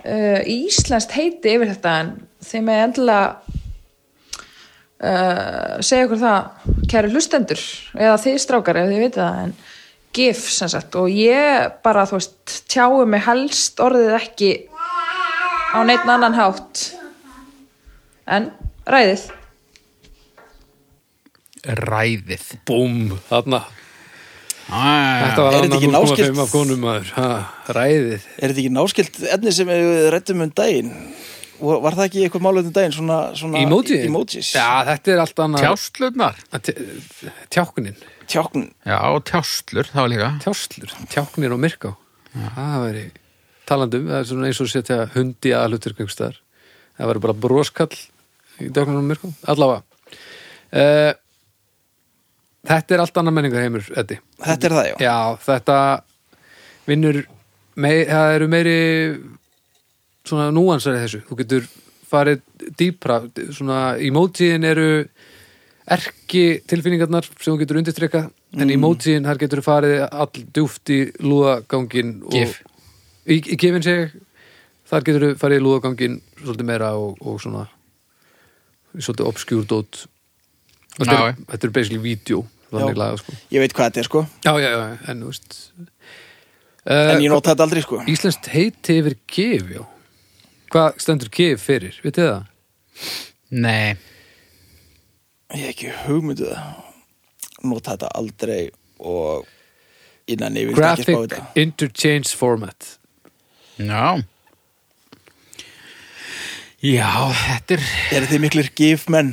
Speaker 5: uh, í íslenskt heiti yfir þetta en þeim er endilega uh, segja okkur það kæru hlustendur eða þið strákar ef þið veit það en gif sem sagt og ég bara þú veist tjáu mig helst orðið ekki á neitt annan hátt en ræðið
Speaker 3: ræðið
Speaker 1: Búm, þarna. Þetta
Speaker 3: Þetta
Speaker 1: var
Speaker 2: Er þetta
Speaker 1: annað
Speaker 2: ekki
Speaker 1: 0,5
Speaker 2: náskylt?
Speaker 1: af konum maður. Ha, ræðið.
Speaker 2: er þetta ekki náskilt efnið sem við rættum um daginn? Var var það ekki eitthvað málið um daginn? Svona, svona
Speaker 1: Emojið?
Speaker 2: Emojis.
Speaker 1: Já, þetta er allt annað.
Speaker 3: Tjástlunar
Speaker 1: Tjá... Tjáknin.
Speaker 2: Tjákn,
Speaker 3: Já, tjástlur, það var líka
Speaker 1: Tjáslur. Tjáknir og myrká. Það væri talandum, það er svona eins og setja hundi aðlutur kvengstar. Það væri bara broskall í tjáknir og myrká. Allavega. Uh, þetta er allt annað menningarheimur, Eddi.
Speaker 2: þetta er það, já.
Speaker 1: Já, þetta vinnur, mei, það eru meiri svona núansar í þessu. Þú getur farið dýpra, svona emojiðin eru erki tilfinningarnar sem þú getur undirstrekkað,
Speaker 3: Mm.
Speaker 1: en emojiðin þar getur farið all djúft í lúðagangin og
Speaker 3: Gif.
Speaker 1: Í, í gifin segi ég, þar getur farið í lúðagangin svolítið meira og, og svona svolítið obskjúrt út þetta
Speaker 3: Já,
Speaker 1: er, þetta er basically vídeo þannig
Speaker 2: Já.
Speaker 1: laga sko
Speaker 2: Ég veit hvað þetta er, sko.
Speaker 1: Já, já, já, en þú veist
Speaker 2: En
Speaker 1: uh,
Speaker 2: ég nota þetta aldrei, sko.
Speaker 1: Íslenskt heiti yfir gif, já Hvað stendur gif fyrir, vitið það?
Speaker 3: Nei,
Speaker 2: Ég hef ekki hugmynduð það. Nota þetta aldrei og innan ég vil ekki spá
Speaker 1: Graphic
Speaker 2: þetta.
Speaker 1: Interchange Format
Speaker 3: já Já, þetta er
Speaker 2: Eru þið miklir gifmenn?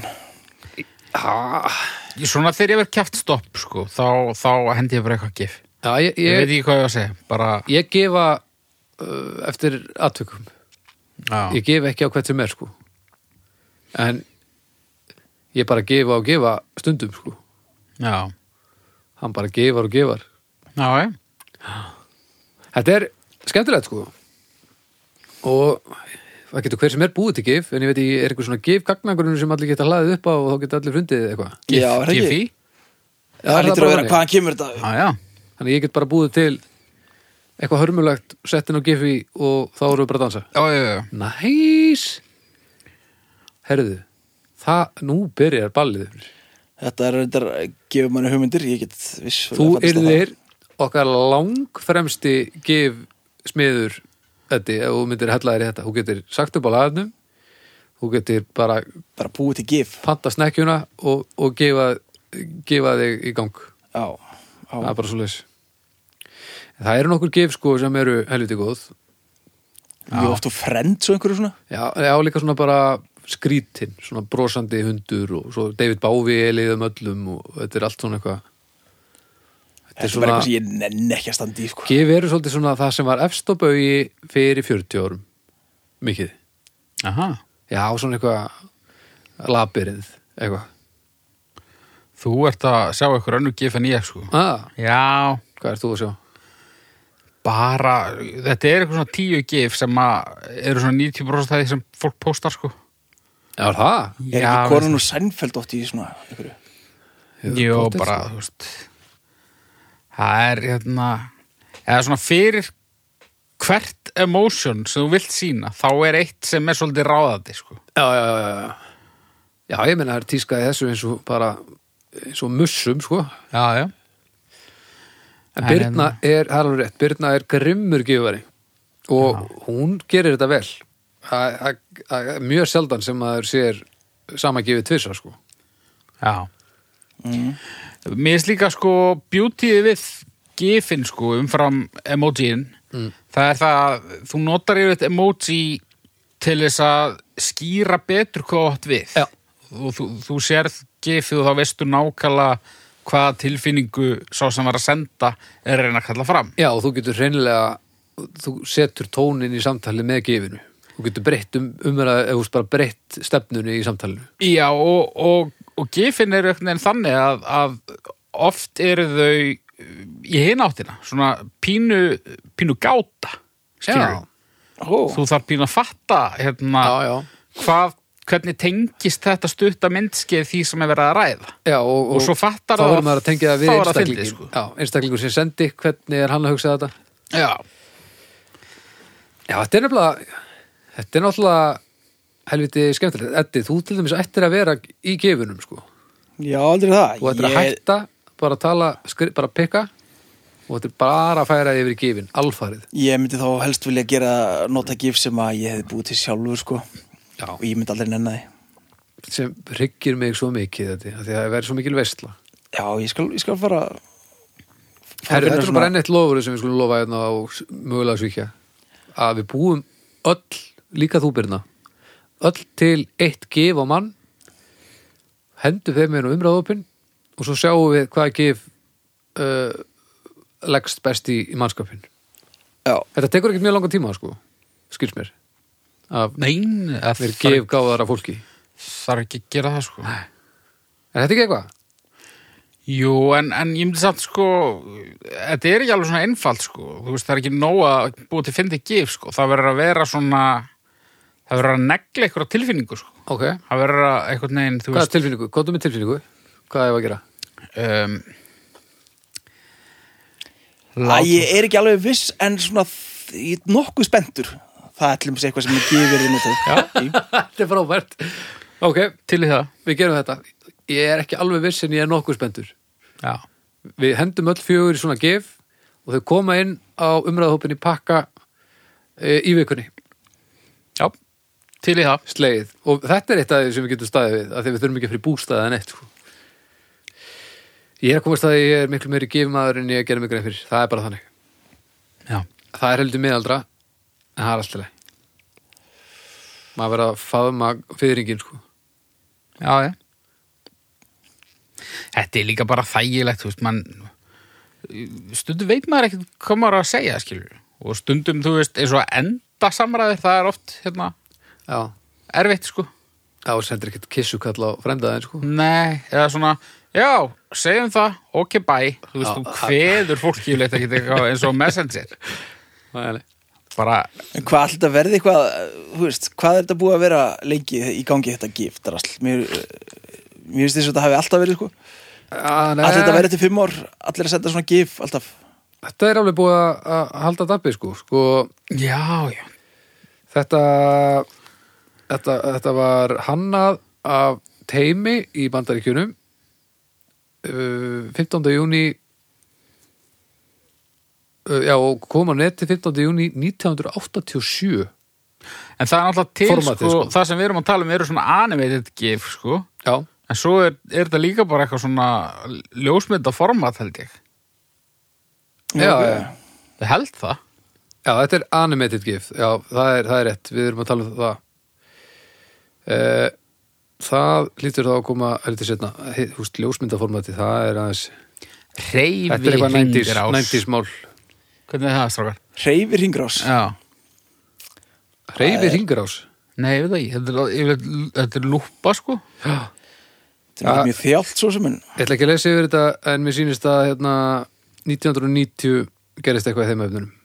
Speaker 3: Svona þegar ég verð kjátt stopp sko, þá, þá hendi ég bara eitthvað gif
Speaker 1: Já, ég,
Speaker 3: Ég veit
Speaker 1: ég,
Speaker 3: ekki hvað ég var að segja, bara
Speaker 1: ég gefa uh, eftir atvikum
Speaker 3: já.
Speaker 1: Ég gef ekki á hvert sem er, sko En ég bara gefa og gefa stundum, sko
Speaker 3: Já,
Speaker 1: Hann bara gefar og gefar
Speaker 3: já, já.
Speaker 1: Þetta er skemmtilegt sko og það getur hver sem er búið til GIF en ég veit ég er eitthvað svona GIF gagnangrunum sem allir geta hlaðið upp á og þá geta allir fundið eitthvað
Speaker 2: Já, er það ekki?
Speaker 3: Giffi?
Speaker 2: Já, það
Speaker 1: er
Speaker 2: lítur
Speaker 1: bara
Speaker 2: að vera
Speaker 1: þannig.
Speaker 2: hvaðan kemur þetta
Speaker 3: Já, já.
Speaker 1: þannig ég get bara búið til eitthvað hörmulegt settin á GIF í og þá erum við bara að dansa
Speaker 3: Já, já, já.
Speaker 1: Næs Herðu, það, nú byrjar ballið
Speaker 2: Þetta er reyndar að gefa manni hugmyndir Ég get viss
Speaker 1: Þú yrðir okkar langfremsti gif smiður þetta ef þú myndir hella þér í þetta þú getur sagt upp á lagarnum þú getur bara
Speaker 2: Bara búið til gif
Speaker 1: panta snekkjuna og, og gefa, gefa þig í gang
Speaker 2: Já, já.
Speaker 1: það er bara svo leys það eru nokkur gif sko sem eru helviti góð
Speaker 2: Mjög oft og frend svo einhverju svona
Speaker 1: já, já líka svona bara skrítin svona brosandi hundur og svo David Bávi eliðum öllum og þetta er allt svona eitthvað
Speaker 2: Þetta er bara eitthvað sem ég nenni ekki að standa í sko.
Speaker 1: Gif eru svolítið svona það sem var efst á baugi fyrir 40 árum mikið,
Speaker 3: Aha.
Speaker 1: já svona eitthvað labirið, eitthvað
Speaker 3: Þú ert að sjá eitthvað önnu gif en ég, sko.
Speaker 1: ah,
Speaker 3: Já,
Speaker 1: hvað er þú að sjá?
Speaker 3: bara, þetta er eitthvað svona tíu gif sem að eru svona 90% af því sem fólk postar, sko.
Speaker 1: Já, er það?
Speaker 2: Er
Speaker 3: Já,
Speaker 2: ekki konan og sænfeld ótt í svona einhverju
Speaker 3: Jó,
Speaker 1: pottþétt,
Speaker 3: bara,
Speaker 1: sko.
Speaker 3: þú veist Það er hérna eða svona fyrir hvert emotion sem þú vilt sína þá er eitt sem er svolítið ráðandi sko.
Speaker 1: Já, já, já, já, já Já, ég meina það er tískaði þessu eins og bara eins og mussum, sko
Speaker 3: Já, já
Speaker 1: En
Speaker 3: En-
Speaker 1: Birna er, hérna- það er alveg rétt, Birna er grimmur gifari og hún gerir þetta vel Það- það- það er mjög sjaldan sem maður sér sama gefið tvisa, sko
Speaker 3: Já Mm. Mér er líka sko beautyið við gifin sko umfram emojiin það er það að þú notar yfir þetta emoji til þess að skýra betur hvað þú átt við
Speaker 1: Já.
Speaker 3: og þú, þú sérð gifið og þá veistu nákvæmlega hvaða tilfinningu sá sem var að senda er að reyna að kalla fram
Speaker 1: Já, og þú getur hreinlega, þú setur tónin í samtali með gefinu. Þú getur breytt um, umræða, eða þú veist bara breytt stefnunni í samtalinu.
Speaker 3: Já og, og, og gifin eru einhvern veginn þannig að, að oft eru þau eh, í hináttina svona pínu, pínu gáta skilurðu.
Speaker 2: Ó,
Speaker 3: þú þarf pínu að fatta hérna,
Speaker 1: já, já.
Speaker 3: Hvað, hvernig tengist þetta stutta myndskeið því sem er verið að ræða
Speaker 1: Já, og,
Speaker 3: Og svo fattar
Speaker 1: þá
Speaker 3: það-
Speaker 1: verður maður að tengja það við
Speaker 3: þá er það fyndið,
Speaker 1: einstaklingin.
Speaker 3: sko.
Speaker 1: Já, einstaklingur sem sendi, hvernig er hann að hugsa þetta?
Speaker 3: já,
Speaker 1: Já, þetta er nefnilega, þetta er náttúrulega helviti skemmtilegt. Eddi, þú til dæmis ættir að vera í gefinum, sko.
Speaker 2: já, aldrei það
Speaker 1: Þú ættir að
Speaker 2: Ég-
Speaker 1: hætta, bara að tala, skri, bara að pikka og þetta er bara að færa þig yfir í gefin, alfarið.
Speaker 2: Ég myndi þá helst vilja gera nota gif sem að ég hefði búið til sjálfur sko
Speaker 1: Já.
Speaker 2: og ég myndi aldrei nenni það
Speaker 1: Sem hryggir mig svo mikið þetta, af því að það verður svo mikil veistla.
Speaker 2: Já, ég skal, ég skal fara fara að
Speaker 1: Herru,
Speaker 2: finna
Speaker 1: þetta er
Speaker 2: svona-
Speaker 1: bara enn eitt lofur sem við skulum lofa hérna á s- mögulega svíkja að við búum öll, líka þú Birna öll til eitt gif á mann hendum þeim hérna einu umræðopin og svo sjáum við hvaða gif uh, leggst best í, í mannskapin
Speaker 2: Já,
Speaker 1: Þetta tekur ekkert mjög langan tíma sko, skils mér að
Speaker 3: nein það
Speaker 1: við
Speaker 3: þarf,
Speaker 1: gif gáðar af fólki
Speaker 3: þarf ekki að gera það sko
Speaker 1: Er þetta ekki eitthvað?
Speaker 3: jú, en, en ég myndi samt sko þetta er ekki alveg svona einfalt sko þú veist, það er ekki nóg að búið til fyndi gif sko, það verður að vera svona það verður að negla einhverja tilfinningu sko
Speaker 1: Ok,
Speaker 3: það verður að einhvern veginn, þú
Speaker 1: hvað er
Speaker 3: veist
Speaker 1: tilfinningu? Kóndum með tilfinningu? Hvað er að gera?
Speaker 3: um,
Speaker 2: Æ, ég er ekki alveg viss en svona þ- ég er nokkuð spenntur Það ætlum sé eitthvað sem ég gefur þið notað
Speaker 1: þetta er frábært Ok,
Speaker 3: til í það
Speaker 1: við gerum þetta ég er ekki alveg viss en ég er nokkuð spendur
Speaker 3: já,
Speaker 1: við hendum öll fjögur í svona gif og þau koma inn á umræðhópin í pakka e, í vikunni
Speaker 3: já, til í það
Speaker 1: sleið og þetta er eitt af því sem við getum staðið við af því við þurfum ekki að fyrir bústaðið en eitt sko. ég er að komast að ég er miklu meiri gifmaður en ég gerum ykkur fyrir það er bara þannig,
Speaker 3: já
Speaker 1: það er heldur miðaldra en það er alltaf leið maður verða að faðma fyrringin sko.
Speaker 3: Já, já. Þetta er líka bara þægilegt, þú veist, mann, stundum veit maður ekkert hvað maður á að segja, skilur. Og stundum, þú veist, eins og að enda samræðir, það er oft, hérna,
Speaker 1: já,
Speaker 3: erfitt, sko.
Speaker 1: þá sendir ekkert kissukall á fremdaðin sko.
Speaker 3: Nei, eða svona, já, segjum það, ok, bye. Þú veist,
Speaker 1: Já,
Speaker 3: þú kveður fólk yfirleitt ekkert eitthvað eins og messenger.
Speaker 1: Það er leið.
Speaker 3: bara
Speaker 2: En Hvað alltaf verði eitthvað, eh, þú veist, hvað er þetta búið að vera lengi í gangi þetta gift drasl? Mér, eh, mér finnst þess að þetta hafi alltaf verið, sko.
Speaker 1: Ah,
Speaker 2: Alltaf
Speaker 1: Eh.
Speaker 2: þetta verið til fimm ár, allir að setja svona gif, alltaf.
Speaker 1: Þetta er alveg búið að- að halda dabbi sko. sko
Speaker 3: já, já,
Speaker 1: þetta, þetta þetta var hannað af teimi í bandaríkjunum uh, 15. júni uh, já og kom á neti 15. júni 1987
Speaker 3: en það er náttúrulega til
Speaker 1: Formatið,
Speaker 3: sko,
Speaker 1: sko.
Speaker 3: það sem við erum að tala um eru svona animated gif sko,
Speaker 1: já,
Speaker 3: en svo er, er þetta líka bara eitthvað svona ljósmynda format held ég,
Speaker 1: já,
Speaker 2: ok.
Speaker 1: já.
Speaker 3: ég held það
Speaker 1: Já, þetta er animated gif Já, það er, það er rétt, við erum að tala um það eh, Það lítur þá að koma heldur setna, húst, ljósmyndaformati það er aðeins,
Speaker 3: reyfi
Speaker 1: þetta er eitthvað 90s,
Speaker 3: hringrás.
Speaker 1: 90s mál
Speaker 3: hvernig er það strákar?
Speaker 2: Hreyfir hingrás.
Speaker 3: já,
Speaker 1: Reyfi ringurás
Speaker 3: nei, ég veit það ekki þetta er, yfirleitt- þetta er lúpa sko
Speaker 2: Þetta
Speaker 1: Ja.
Speaker 2: er mjög þjált svo sem en
Speaker 1: Ég ætla ekki að lesa yfir þetta en mér sýnist að hérna, 1990 gerist eitthvað í þeim öfnunum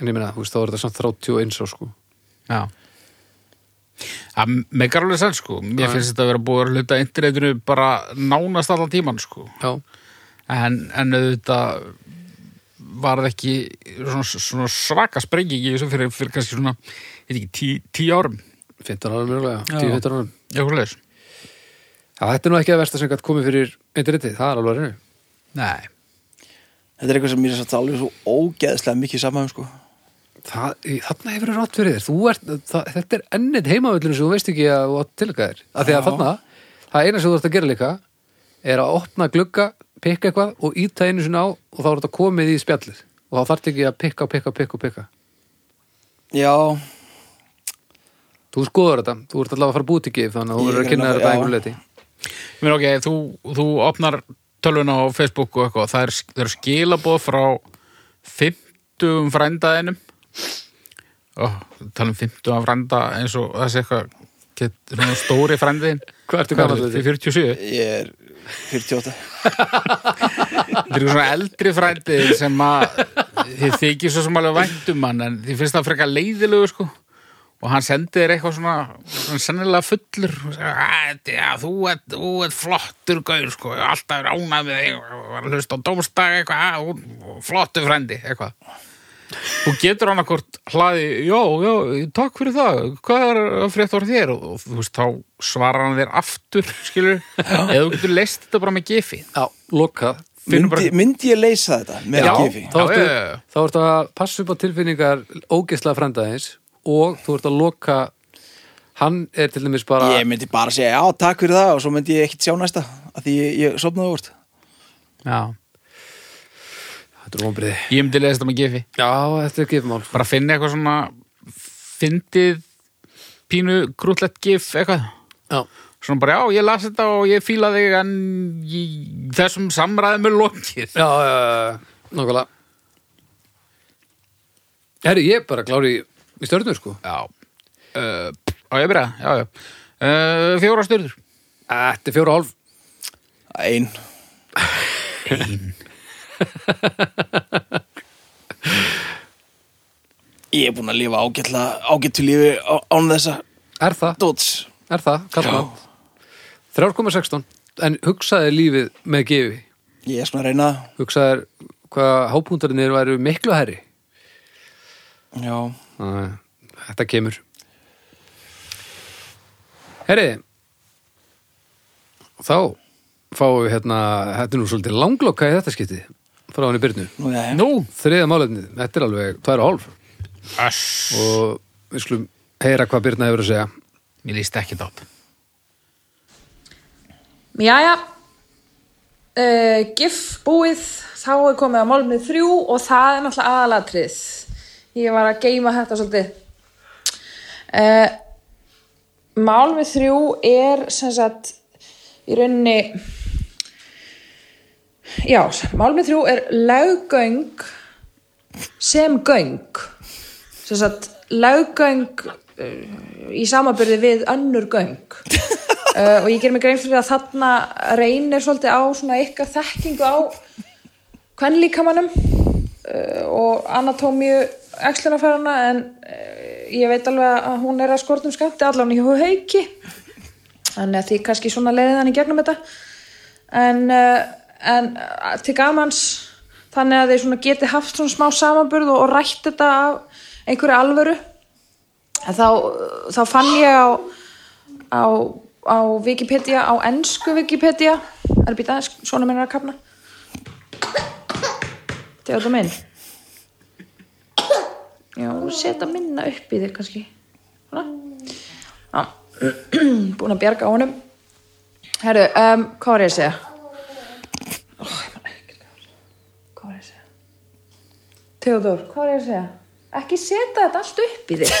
Speaker 1: En ég meina, húst, þá er þetta samt 31 á sko
Speaker 3: Já Það megar alveg sæl sko Mér
Speaker 1: Já.
Speaker 3: finnst þetta að vera búið að hluta internetinu bara nánast allan tíman sko
Speaker 1: Já,
Speaker 3: en, en auðvitað var það ekki svona, svona svaka sprenging í þessu fyrir, fyrir kannski svona ég veit ekki, tí, tíu árum
Speaker 1: 15 árum mjögulega,
Speaker 3: Já.
Speaker 1: 10-15 árum
Speaker 3: eitthvað leis
Speaker 1: Já, þetta er nú ekki að versta sem gætt komið fyrir internetið, það er alveg að reynu
Speaker 3: Nei,
Speaker 2: þetta er eitthvað sem mér er satt alveg svo ógeðslega mikið saman, sko.
Speaker 1: Það, þarna hefur þú rátt fyrir þér Þú ert, það, þetta er ennit heimavöllinu sem þú veist ekki að þú átt tilgæða þér af því að
Speaker 2: Já.
Speaker 1: þarna, það eina sem þú ert að gera líka er að opna glugga pikka eitthvað og íta einu sinni á og þá er þetta komið í spjallið og þá þarft ekki að pikka, pikka, pikka, pikka
Speaker 2: Já,
Speaker 1: Þú skoður þetta, þú ert allavega að fara að búti ekki þannig að þú
Speaker 2: Ég
Speaker 1: verður
Speaker 2: er
Speaker 1: að kynna
Speaker 2: alveg-
Speaker 1: þér þetta
Speaker 2: já.
Speaker 1: einhver leiti
Speaker 3: mér ok, þú, þú opnar tölvuna á Facebook og eitthvað það er, það er skilaboð frá 50 frændaðinum Ó, tala um 50 frænda eins og þessi eitthvað get, svona stóri frændiðin
Speaker 1: Hvað ertu gamall
Speaker 3: þetta?
Speaker 1: þetta?
Speaker 3: 47?
Speaker 2: ég er 48.
Speaker 3: Þetta er svona eldri frændið sem að þið þykir svo sem alveg væntum hann en þið finnst það frekar leiðilegu sko og hann sendi þér eitthvað svona, svona sennilega fullur og segir, "Æ, þetta- já, þú ert, þú ert flottur gaur sko, ég hef alltaf er ánað með þig og var að hlusta á dómstag eitthvað "Æ, hún- flottur frændi, eitthvað og getur hann akkort hlaði, já, já, takk fyrir það hvað er að frétt voru þér og, og þú veist, þá svarar hann þér aftur skilur, eða þú getur leist þetta bara með gifið
Speaker 1: Já, loka
Speaker 3: Finnum
Speaker 2: Myndi, myndi ég leysa þetta með
Speaker 3: Já.
Speaker 2: gifi?
Speaker 1: Þá
Speaker 3: Já,
Speaker 1: ertu,
Speaker 3: já, já, já.
Speaker 1: þá ertu að passa upp á tilfinningar ógislega frendaðins og þú ert að loka hann er til dæmis bara
Speaker 2: Ég myndi bara segja, já, takk fyrir það og svo myndi ég ekkit sjá næsta að því ég, ég sopnaði úr
Speaker 3: Já.
Speaker 1: Þetta er vonbriði
Speaker 3: Ég myndi lesa þetta með gefi.
Speaker 1: Já, þetta er gifmál
Speaker 3: Bara finna eitthvað svona, fyndið pínu grútlegt gif eitthvað.
Speaker 1: Já,
Speaker 3: Svona bara, já, ég las þetta og ég fíla þig en ég, þessum samræðum er lokið.
Speaker 1: já, já, já, nákvæmlega Herri, ég er bara klári í, í stjörnur, sko
Speaker 3: Já. Uh, á, ég byrja, já, já. Uh, fjóra styrður.
Speaker 1: Þetta er fjóra og hálf
Speaker 2: það Ein, ég er búin að lifa ágætla ágættu lífi á- án þessa
Speaker 1: Er það,
Speaker 2: dóts
Speaker 1: er það, kallmann 3,16 En hugsaði lífið með gefi
Speaker 2: Ég er svona að reyna það.
Speaker 1: Hugsaði hvað hápúntarnir væru miklu herri
Speaker 2: Já,
Speaker 1: Æ, Þetta kemur Herri Þá fáum við hérna Þetta er nú svolítið langlokka í þetta skipti Frá hann í byrnu
Speaker 2: nú já, já.
Speaker 3: Nú,
Speaker 1: Þriða málefnið, þetta er alveg tvær og hálf
Speaker 3: öss,
Speaker 1: og við skulum heyra hvað Birna hefur að segja
Speaker 3: mér líst ekki þátt.
Speaker 5: Mm, Jæja, uh, GIF búið, þá er komið að málmið þrjú og það er náttúrulega aðalatrið. Ég var að geima þetta svolítið. Uh, málmið þrjú er sem sagt í rauninni, já, málmið þrjú er laggöng sem göng. Sem sagt, laggöng uh, í samabyrði við önnur göng. Uh, og ég ger mig grein fyrir að þarna reynir svolítið á svona ykkar þekkingu á kvenlíkamannum uh, og eh, anatómíu axlunarfærana en eh, ég veit alveg að hún er að skortum skamti allan í hauki þannig að því kannski svona leiðið hann í gegnum þetta en, eh, en eh, til gamans þannig að þeir svona geti haft svona smá samanburð og, og rætt þetta af einhverju alvöru en þá, þá fann ég á á, á Wikipedia á ennsku Wikipedia er býta, svona minn er að kapna Teodor minn Já, seta minna upp í þig kannski Svona Já, búin að bjarga á honum Herru, um, hvað var ég að segja? Ó, ég man ekkert Hvað var ég að segja? Teodor, hvað var ég að segja? Ekki seta þetta allt upp í þig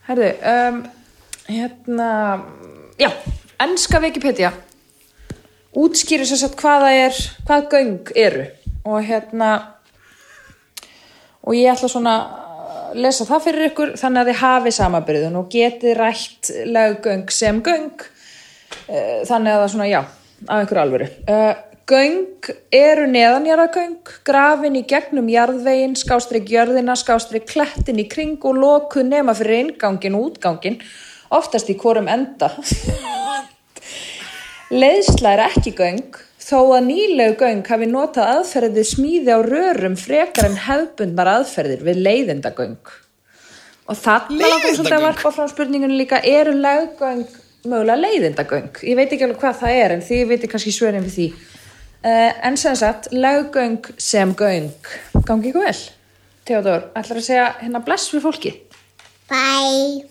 Speaker 5: Herðu, um, hérna, já, ennska Wikipedia útskýrir sér satt hvað það er, hvað göng eru og hérna, og ég ætla svona að lesa það fyrir ykkur þannig að þið hafi samabriðun og getið rætt löggöng sem göng Eh, þannig að það svona, já, af einhverju alvöru. Uh, göng eru neðanjarðagöng, grafin í gegnum jarðvegin, skástrík jörðina, skástrík klettin í kring og lokuð nema fyrir ingangin og útgangin, oftast í hvorum enda. Leiðsla er ekki göng, þó að nýlegu göng hafi notað aðferðið smíði á rörum frekar en hefbundnar aðferðir við leiðindagöng. Og þarna langar svolítið að varpa frá spurningunni líka, eru leggöng mögulega leiðindagöng? Ég veit ekki alveg hvað það er, en þið veitir kannski svörin við því. Uh, en sem sagt, leggöng sem göng. Gangi ykkur vel? Theodor, ætlar að segja hérna bless við fólki?
Speaker 6: Bye.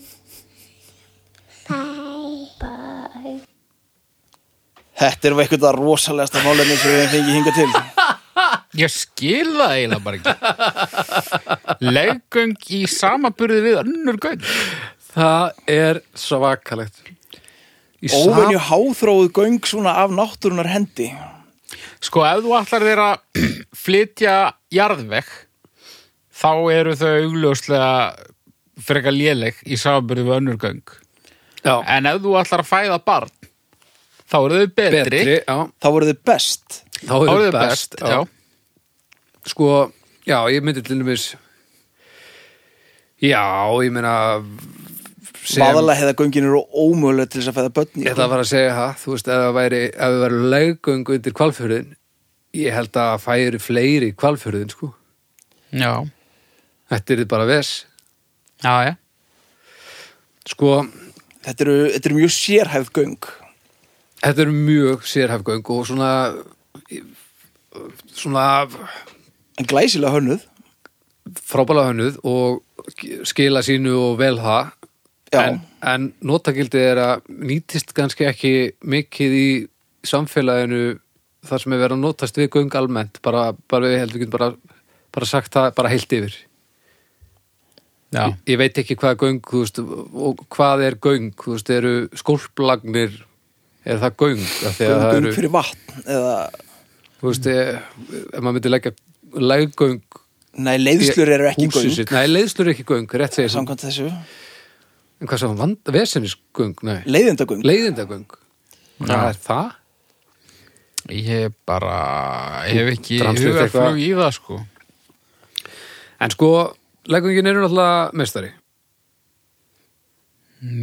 Speaker 6: Bye. Bye.
Speaker 2: Þetta er eitthvað það rosalegasta málefni sem við fengið hinga til.
Speaker 3: Ég skil það eiginlega bara ekki. Leggöng í samaburði við önnur göng.
Speaker 1: Það er svakalegt. Í
Speaker 2: Óvenju háþróið göng svona af náttúrunar hendi.
Speaker 3: Sko, ef þú ætlar þér að flytja jarðveg, þá eru þau augljóslega frekar léleg í samaburði við önnur göng.
Speaker 1: sam- já,
Speaker 3: En ef þú ætlar að fæða barn, þá eru þau betri.
Speaker 1: betri, já,
Speaker 2: Það voru þið best.
Speaker 1: þá
Speaker 3: Þá
Speaker 1: er
Speaker 3: eru
Speaker 1: það
Speaker 3: þau best, já.
Speaker 1: Sko, já, ég myndi til dæmis, já, ég meina, sem-
Speaker 2: Vaðalega hefða göngin eru ómögulega til þess að fæða börn. í.
Speaker 1: Ég ætla að fara að segja það, þú veist, ef það væri, ef það væri leggöngu undir kvalfjörðin, ég held að færi fleiri kvalfjörðin, sko.
Speaker 3: Já,
Speaker 1: Þetta er bara ves.
Speaker 3: já, já.
Speaker 1: Sko,
Speaker 2: Þetta eru, þetta eru mjög sérhæfð göng.
Speaker 1: þetta er mjög sérhafgöng og svona, svona
Speaker 2: En glæsilega hönnuð.
Speaker 1: frábæla hönnuð og skila sínu og vel það.
Speaker 2: Já.
Speaker 1: En, en notagildið er að nýtist kannski ekki mikið í samfélaginu þar sem er verið að notast við göng almennt, bara, bara við heldum ekki bara, bara sagt það bara heilt yfir.
Speaker 3: Já,
Speaker 1: ég, ég veit ekki hvað göng þú veist, og hvað er göng þú veist, eru skólplagnir er það göng Af því að
Speaker 2: Göng,
Speaker 1: það
Speaker 2: göng
Speaker 1: eru,
Speaker 2: fyrir vatn. Eða,
Speaker 1: þú veist, eh, ef maður myndi leggja leggöng
Speaker 2: nei, leiðslur eru ekki göng.
Speaker 1: sitt, nei, leiðslur eru ekki göng, rétt segir þú.
Speaker 2: Samkvæmt þessu.
Speaker 1: en hvað sem vand, vesenisgöng, nei
Speaker 2: Leiðindagöng.
Speaker 1: leiðindagöng, það er það
Speaker 3: ég bara ég hef ekki
Speaker 1: Dramst þitt
Speaker 3: hugarflug
Speaker 1: eitthvað?
Speaker 3: í það, sko.
Speaker 1: en sko, leggöngin eru náttúrulega mestari,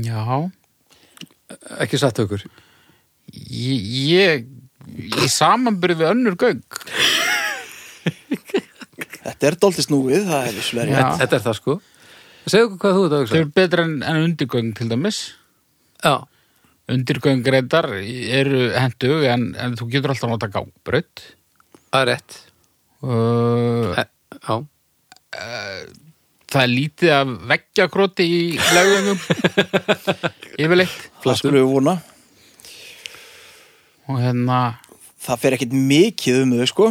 Speaker 3: Já,
Speaker 1: ekki satt aukur
Speaker 3: ég, ég, ég samanbyrði við önnur göng.
Speaker 2: Þetta er dálítið snúið, það er vissulega
Speaker 3: Já.
Speaker 2: rétt.
Speaker 1: þetta er það sko segðu okkur hvað þú þetta
Speaker 3: Þau
Speaker 1: auksar
Speaker 3: eru betra en, en undirgöng til dæmis.
Speaker 1: já,
Speaker 3: Undirgöng reyndar eru hendu en, en þú getur alltaf að nota gangbraut.
Speaker 1: það er rétt
Speaker 3: Uh,
Speaker 1: Eh, já,
Speaker 3: það er lítið að veggja króti í laugöngum. Yfirleitt.
Speaker 2: Það skulum við vona.
Speaker 3: Og hérna,
Speaker 2: Það fer ekkit mikið um þau, sko.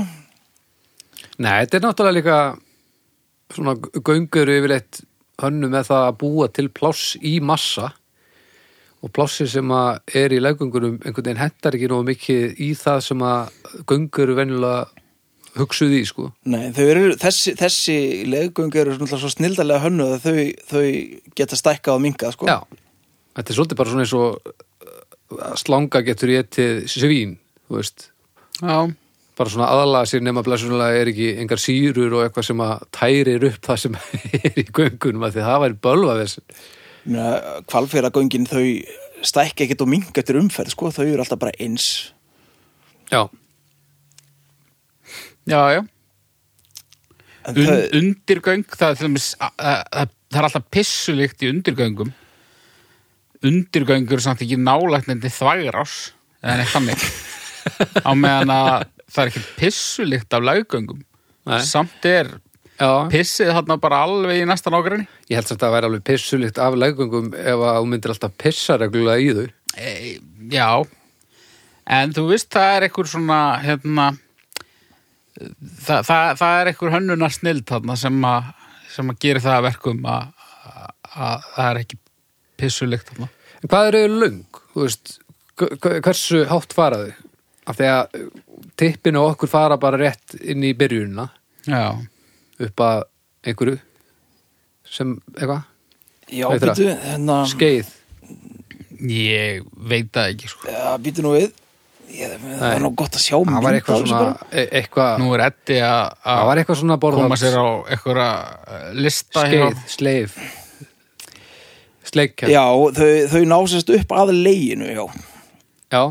Speaker 1: Nei, þetta er náttúrulega líka svona göngur yfirleitt hönnu með það að búa til pláss í massa og plássi sem að er í legungunum einhvern veginn hendar ekki nógu mikið í það sem að göngur eru venjulega hugsuð í, sko.
Speaker 2: Nei, þau eru, þessi, þessi leggöngu eru náttúrulega svo snildarlega hönnuð að þau, þau geta stækkað og minkað, sko.
Speaker 1: Já, þetta er svolítið bara svona e, eins og uh, að slanga getur ég til svín, þú veist.
Speaker 3: já,
Speaker 1: bara svona aðlaga sér nema blessunulega er ekki engar sýrur og eitthvað sem að tærir upp það sem er í göngunum að því það væri bölvað þess
Speaker 2: Kvalfjöragöngin þau stækka ekkert og minga eftir umferð sko, þau eru alltaf bara eins
Speaker 1: já,
Speaker 3: já, já
Speaker 2: En
Speaker 3: Un,
Speaker 2: þau-
Speaker 3: undirgöng, það er, til dæmis, a- a- a- það er alltaf pissulikt í undirgöngum undirgöngur samt ekki nálægt nefndi þvægrás eða neitt þannig á meðan að það er ekki pissulikt af laggöngum
Speaker 1: Nei.
Speaker 3: samt er
Speaker 1: já
Speaker 3: pissið þarna bara alveg í næsta nágrinni
Speaker 1: ég held samt að það væri alveg pissulikt af leggöngum ef að þú myndir alltaf pissa reglulega í þau
Speaker 3: e, já en þú veist það er einhver svona hérna það, það, það er einhver hönnunar snild þarna sem að sem að gera það að verkum að að- að það er ekki pissulikt þarna
Speaker 1: En hvað eru þau löng? Þú veist, hv- hv- hversu hátt fara þau? Af því að uh, tippin og okkur fara bara rétt inn í byrjunina
Speaker 3: já,
Speaker 1: upp að einhverju sem eitthvað,
Speaker 2: Já,
Speaker 1: Heitir það?
Speaker 2: býtu, hérna
Speaker 1: skeið
Speaker 3: ég veit það ekki sko.
Speaker 2: Já, býtu nú við ég, Það
Speaker 1: Nei.
Speaker 2: er nú gott að sjá sko.
Speaker 1: það
Speaker 2: mynd
Speaker 1: var
Speaker 2: af
Speaker 1: eitthvað
Speaker 2: þessu
Speaker 1: svona
Speaker 2: bara.
Speaker 1: e- eitthvað,
Speaker 3: nú er Eddi að
Speaker 1: það
Speaker 3: að
Speaker 1: var eitthvað svona
Speaker 3: koma sér
Speaker 1: borðað
Speaker 3: á einhverja eh, lista
Speaker 1: skeið, sleif sleikkerð,
Speaker 2: Já, þau, þau ná sérst upp að leginu, já
Speaker 1: já,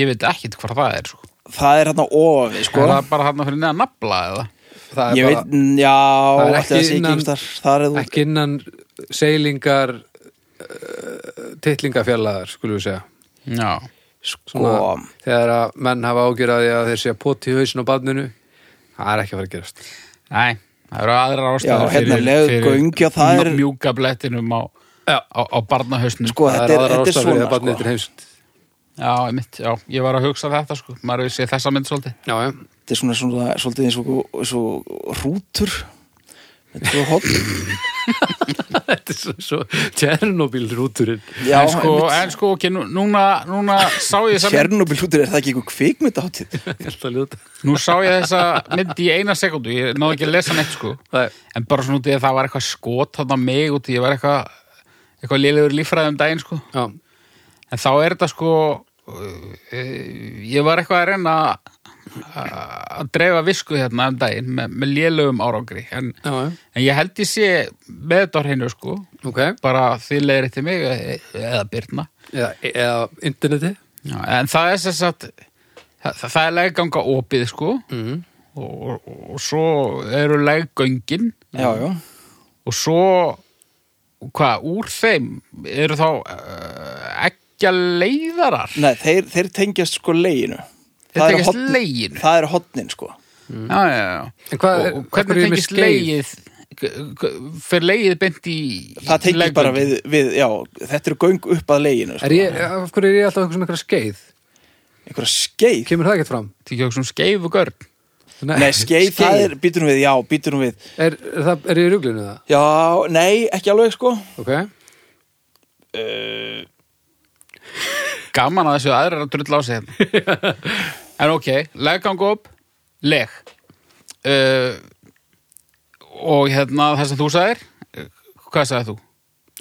Speaker 3: ég veit ekkit hvað það er sko.
Speaker 2: Það er hérna ofi, sko
Speaker 3: er það bara hann fyrir neða nafla eða
Speaker 1: það
Speaker 2: Ég
Speaker 1: er
Speaker 2: veit, já,
Speaker 1: Það er
Speaker 2: ætli það
Speaker 1: ekki
Speaker 2: sé ekki
Speaker 1: innan-
Speaker 2: einhvers staðar. Það er
Speaker 1: bara
Speaker 2: þú
Speaker 1: ekki innan seilingar uh, titlingafjallaðar, skulum við segja
Speaker 3: já,
Speaker 1: svona,
Speaker 2: Sko.
Speaker 1: þegar að menn hafa ágjörði að þeir sé að poti í hausin á badninu það er ekki að fara að gerast
Speaker 2: Sko,
Speaker 3: nei, það eru aðra
Speaker 2: Já,
Speaker 3: ástæður
Speaker 2: hérna, leggöng, já, það er-
Speaker 3: mjúka blettinum á,
Speaker 1: Já.
Speaker 3: á, á barnahausnum
Speaker 2: Sko,
Speaker 1: það
Speaker 2: þetta er,
Speaker 1: er aðra
Speaker 2: þetta er
Speaker 1: ástæður
Speaker 2: svona,
Speaker 1: þegar badnið
Speaker 2: sko
Speaker 1: þetta er heimst
Speaker 3: já, mitt, já, ég var að hugsa þetta sko, maður hefur séð þessa mynd svolítið
Speaker 1: já, já,
Speaker 2: Þetta er svona, svona, svolítið eins og, eins og rútur Þetta er svo hot
Speaker 1: þetta er svo, svo Tjernobyl rúturinn
Speaker 2: Já,
Speaker 3: en sko,
Speaker 2: einmitt.
Speaker 3: en sko ok, nú- núna, núna sá ég þessa mynd
Speaker 2: Tjernobyl hútur, er það ekki einhver kvikmynda hátíð?
Speaker 1: ég held að ljóta
Speaker 3: nú sá ég þessa mynd í eina sekundu ég náði ekki að lesa neitt sko
Speaker 1: Nei.
Speaker 3: en bara svona út í að það var eitthvað skot þarna á mig út í, ég var eitthvað eitthvað lélegur líffræði um daginn sko
Speaker 1: já,
Speaker 3: En þá er þetta sko eh, ég var eitthvað að reyna að- að dreifa visku hérna um daginn með, með lélögum árangri en,
Speaker 1: já, já,
Speaker 3: en ég held ég sé með þetta á hreinu sko
Speaker 1: ok
Speaker 3: bara því leiðir til mig eh, eða Byrna
Speaker 1: eða, eða interneti
Speaker 3: Já, en það er sem sagt það, það er legganga opið sko
Speaker 1: mm.
Speaker 3: og, og, og svo eru leggöngin
Speaker 2: Já, já
Speaker 3: og svo hvað, úr þeim eru þá uh, ekki leiðarar
Speaker 2: Nei, þeir, þeir tengjast sko leginu
Speaker 3: Þeir
Speaker 2: Það eru
Speaker 3: tengjast
Speaker 2: hornin-
Speaker 3: leginu?
Speaker 2: Það er hotnin sko
Speaker 3: já, já, já.
Speaker 1: En hvað er-
Speaker 3: og, og
Speaker 1: af hverju
Speaker 3: hvernig
Speaker 1: er með
Speaker 3: tengist
Speaker 1: skeið?
Speaker 3: leið fyrir leið beint í
Speaker 2: Það tengir
Speaker 3: leggöng?
Speaker 2: bara við, við, já, þetta eru göng upp að leginu
Speaker 1: er
Speaker 2: sko.
Speaker 1: ég, af hverju er ég alltaf eitthvað sem eitthvað skeið
Speaker 2: Einhverja skeið
Speaker 1: kemur það ekkert fram
Speaker 3: Þetta er ekki okkur sem skeif og görn
Speaker 2: Nei, skeið, það er, býtur hún við, já, býtur hún við
Speaker 1: er, er, það, er ég í ruglunum það?
Speaker 2: Já, nei, ekki alveg sko
Speaker 1: ok,
Speaker 3: gaman að þessu aðrar er að drulla á sig hérna. en ok, leggang upp leg uh, og hérna það sem þú sagðir eh, hvað sagðir þú?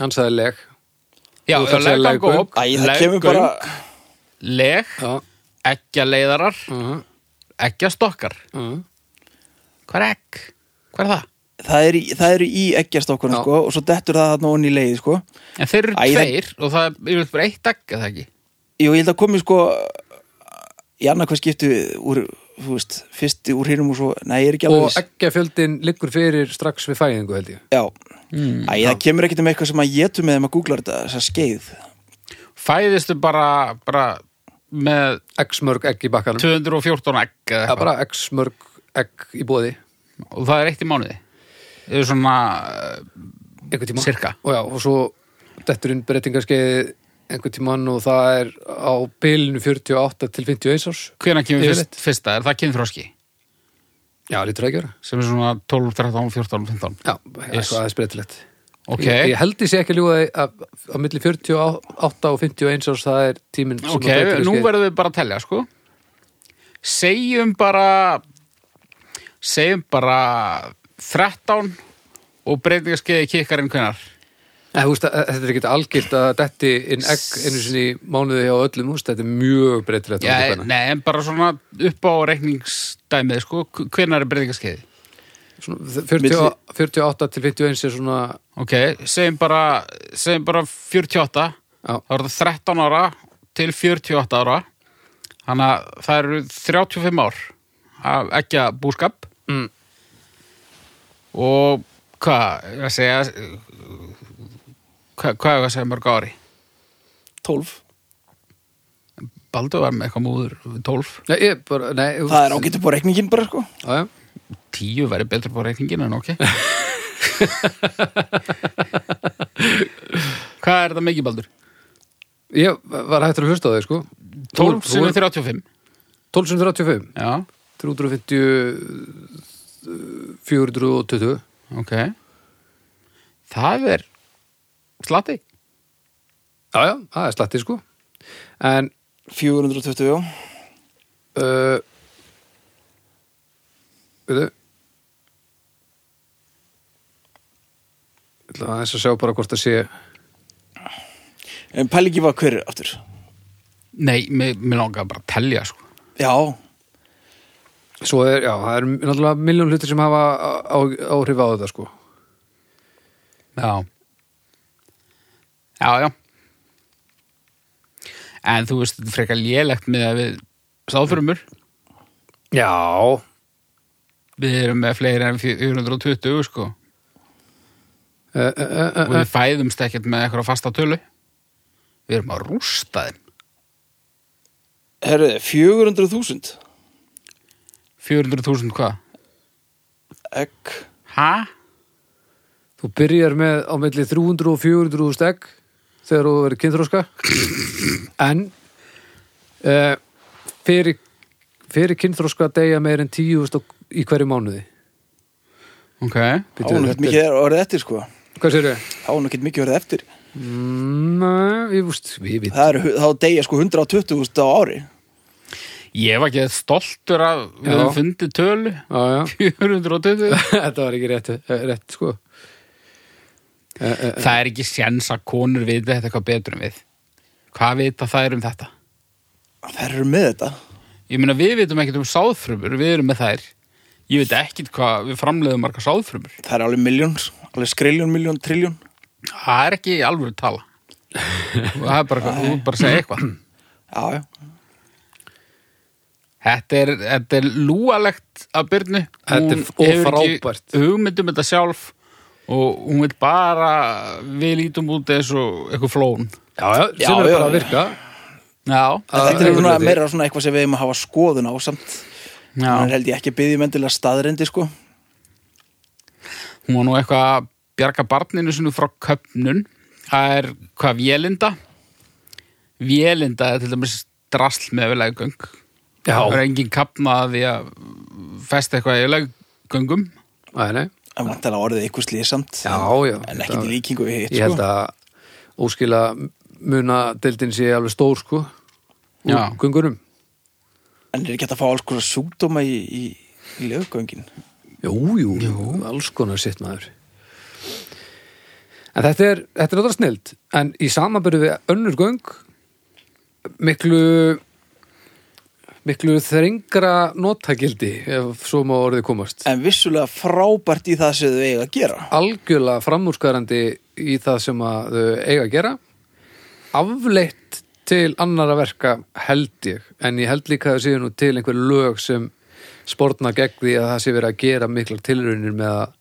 Speaker 1: hann sagði leg
Speaker 3: já,
Speaker 1: Þú þarft að segja
Speaker 3: leggang
Speaker 1: leggöng.
Speaker 3: upp,
Speaker 2: Æ, það kemur bara
Speaker 3: leggöng, leg,
Speaker 1: já,
Speaker 3: ekki leiðarar
Speaker 1: uh -huh,
Speaker 3: ekki stokkar hvað er egg? hvað er það?
Speaker 2: Það eru það er í eggjast okkur
Speaker 1: Já.
Speaker 2: sko, og svo dettur það þarna onni í leið sko.
Speaker 3: en þeir eru
Speaker 2: Æ, það-
Speaker 3: tveir og það er yfirleitt bara eitt egg eða ekki?
Speaker 2: Jú, ég held að komi sko í annað hvað skiptu úr, þú veist, fyrst úr hýrum og svo Nei, ég er ekki alveg
Speaker 1: og
Speaker 2: viss.
Speaker 1: eggjafjöldin liggur fyrir strax við fæðingu held ég
Speaker 2: Já, Æ, það kemur ekkert um eitthvað sem að getur með þeim að googla þetta, þessa skeið
Speaker 3: fæðistu bara, bara með
Speaker 1: x mörg egg í bakkanum
Speaker 3: 214 egg
Speaker 1: Það er
Speaker 3: eða eitthvað
Speaker 1: bara x mörg egg í bóði
Speaker 3: og það er eitt í mánuði það er svona eh,
Speaker 1: einhvern tíma
Speaker 3: Sirka.
Speaker 1: og, já, og svo dettur inn breytingarskeið einhvern tíman og það er á bilinu 48 til 51 árs
Speaker 3: hvena kemur fyrst,
Speaker 1: Yfirleitt.
Speaker 3: fyrsta, er það kynþróski
Speaker 1: já, lítur það að gera
Speaker 3: sem er svona 12, 13, 14, 15
Speaker 1: já, yes.
Speaker 3: Yes.
Speaker 1: eitthvað aðeins breytilegt
Speaker 3: ok,
Speaker 1: ég, ég held ég sé ekki að ljúga því að á milli 48 og 51 árs það er tíminn sem
Speaker 3: ok,
Speaker 1: að breytingarskeið-
Speaker 3: nú verðum við bara að telja sko segjum bara segjum bara 13 og breytingarskeiði kikkarinn hvenar
Speaker 1: En, þú veist, að- þetta er ekki algilt að detti inn egg einu sinni í mánuði hjá öllum, þú veist, þetta er mjög breytilegt. á milli
Speaker 3: Já,
Speaker 1: kvenna.
Speaker 3: nei, en bara svona upp á reikningsdæmið, sko, hvenær er breytingaskeiði?
Speaker 1: Svona 40 og- 48 til 51 er svona,
Speaker 3: Ok, segjum bara, segjum bara 48,
Speaker 1: Já.
Speaker 3: þá er það 13 ára til 48 ára, þannig að það eru 35 ár af ekki að búskap
Speaker 1: Mm.
Speaker 3: og hvað, ég að segja, hvað, hvað er að segja mörg ári?
Speaker 2: 12
Speaker 3: Baldur var með eitthvað múður 12,
Speaker 1: nei, ég bara, nei,
Speaker 2: Það
Speaker 1: þú
Speaker 2: er
Speaker 1: veist,
Speaker 2: ágættu på reikningin bara sko
Speaker 1: já, já.
Speaker 3: 10 væri betur på reikningin en ok. hvað er það mikið, Baldur?
Speaker 1: Ég var hættur að hlusta á þig, sko.
Speaker 3: 12
Speaker 1: Þú- þú
Speaker 3: sinni
Speaker 1: er-
Speaker 3: 35,
Speaker 1: 12 sinni 35,
Speaker 3: já,
Speaker 1: 350, 420.
Speaker 3: ok. Það er slati.
Speaker 1: Já, já, það er slatti, sko. En
Speaker 2: 420 já
Speaker 1: uh, veitu Ég ætla aðeins að sjá bara hvort það sé
Speaker 2: En pælingi var hver aftur
Speaker 3: Nei, mér, mér langar bara að telja, sko.
Speaker 2: Já,
Speaker 1: Svo er, já, það er náttúrulega miljón hlutir sem hafa á- á- áhrif á þetta, sko
Speaker 3: Já. Já, já. En þú veist, þetta er frekar lélegt með að við sáðfrumur.
Speaker 1: Já,
Speaker 3: Við erum með fleiri en 420, sko.
Speaker 1: uh, uh,
Speaker 3: Og við fæðumst ekkert með eitthvað fasta tölu. Við erum að rústa þeim.
Speaker 2: herruði, 400.000
Speaker 3: 400.000 hvað?
Speaker 2: Egg
Speaker 3: Ha?
Speaker 1: þú byrjar með á milli 300 og 400 steg þegar þú verður kynþróska en uh, fyrir, fyrir kynþróska degja meir en 10.000 á- í hverju mánuði
Speaker 3: Ok.
Speaker 1: Bíddu,
Speaker 2: Ánum ekkert
Speaker 1: þetta er-
Speaker 2: mikið orðið eftir sko
Speaker 1: Hvað sér þau?
Speaker 2: Ánum ekkert mikið orðið eftir
Speaker 1: Nei, ég vúst, ég veit.
Speaker 2: Það er, þá deyja sko 120.000 á ári
Speaker 3: Ég var ekki stoltur af við
Speaker 1: Já.
Speaker 3: höfum fundið tölu.
Speaker 1: Já, Eh, já,
Speaker 3: 420.
Speaker 1: þetta var ekki rétt, rétt sko. eh.
Speaker 3: Það er ekki séns að konur viti þetta eitthvað betur en við. Hvað vita þær um þetta?
Speaker 2: Það eru með þetta
Speaker 3: Ég meina við vitum ekkert um sáðfrumur, við erum með þær. Ég veit ekkert hvað við framleiðum margar sáðfrumur.
Speaker 2: Það er alveg miljón, alveg skriljón, miljón, triljón
Speaker 3: Það er ekki alvöru tala. það er bara, þú ert bara að segja eitthvað.
Speaker 2: Já, já
Speaker 3: Þetta er, þetta er lúalegt af Byrnu.
Speaker 1: Þetta er f- og frábært.
Speaker 3: Hún hefur ekki hugmyndum þetta sjálf og hún vil bara, við lítum út eins og eitthvað flón.
Speaker 1: Já, já, sem
Speaker 2: Já,
Speaker 1: er
Speaker 2: já,
Speaker 1: bara að
Speaker 2: já.
Speaker 1: virka.
Speaker 3: Já.
Speaker 2: Þetta er
Speaker 1: einhverju
Speaker 2: svona
Speaker 1: leyti.
Speaker 2: meira svona eitthvað sem við erum að hafa skoðun á samt Þannig
Speaker 3: Já.
Speaker 2: held ég ekki að byggja mendilega staðrendi sko
Speaker 3: Hún var nú eitthvað að bjarga barninu sinu frá köpnun. Það er hvað vélinda. Vélinda er til dæmis drasl með viðlegöng. Það er
Speaker 1: Já,
Speaker 3: engin kapna að því að festa eitthvað í viðlegöngum.
Speaker 1: Æ, nei.
Speaker 2: En vantilega orðið eitthvað slísamt
Speaker 1: já, já.
Speaker 2: En ekki til líkingu við hitt
Speaker 1: Ég held
Speaker 2: sko
Speaker 1: að óskila munadeildin sé alveg stór sko. úr
Speaker 3: Já.
Speaker 1: Göngunum.
Speaker 2: En er ekki hægt að fá alls konar sjúkdóma í, í, í löggöngin
Speaker 1: Jú, jú, alls konar sitt maður. En þetta er, þetta er náttúrulega snild. En í samanbyrju við önnur göng, miklu, miklu þrengra notagildi, ef svo má orðið komast.
Speaker 2: En vissulega frábært í það sem þau eiga að gera
Speaker 1: Algjörlega framúrskarandi í það sem að þau eiga að gera. Afleitt til annara verka held ég, en ég held líka að það séu nú til einhver lög sem spórna gegn því að það sé verið að gera miklar tilraunir með að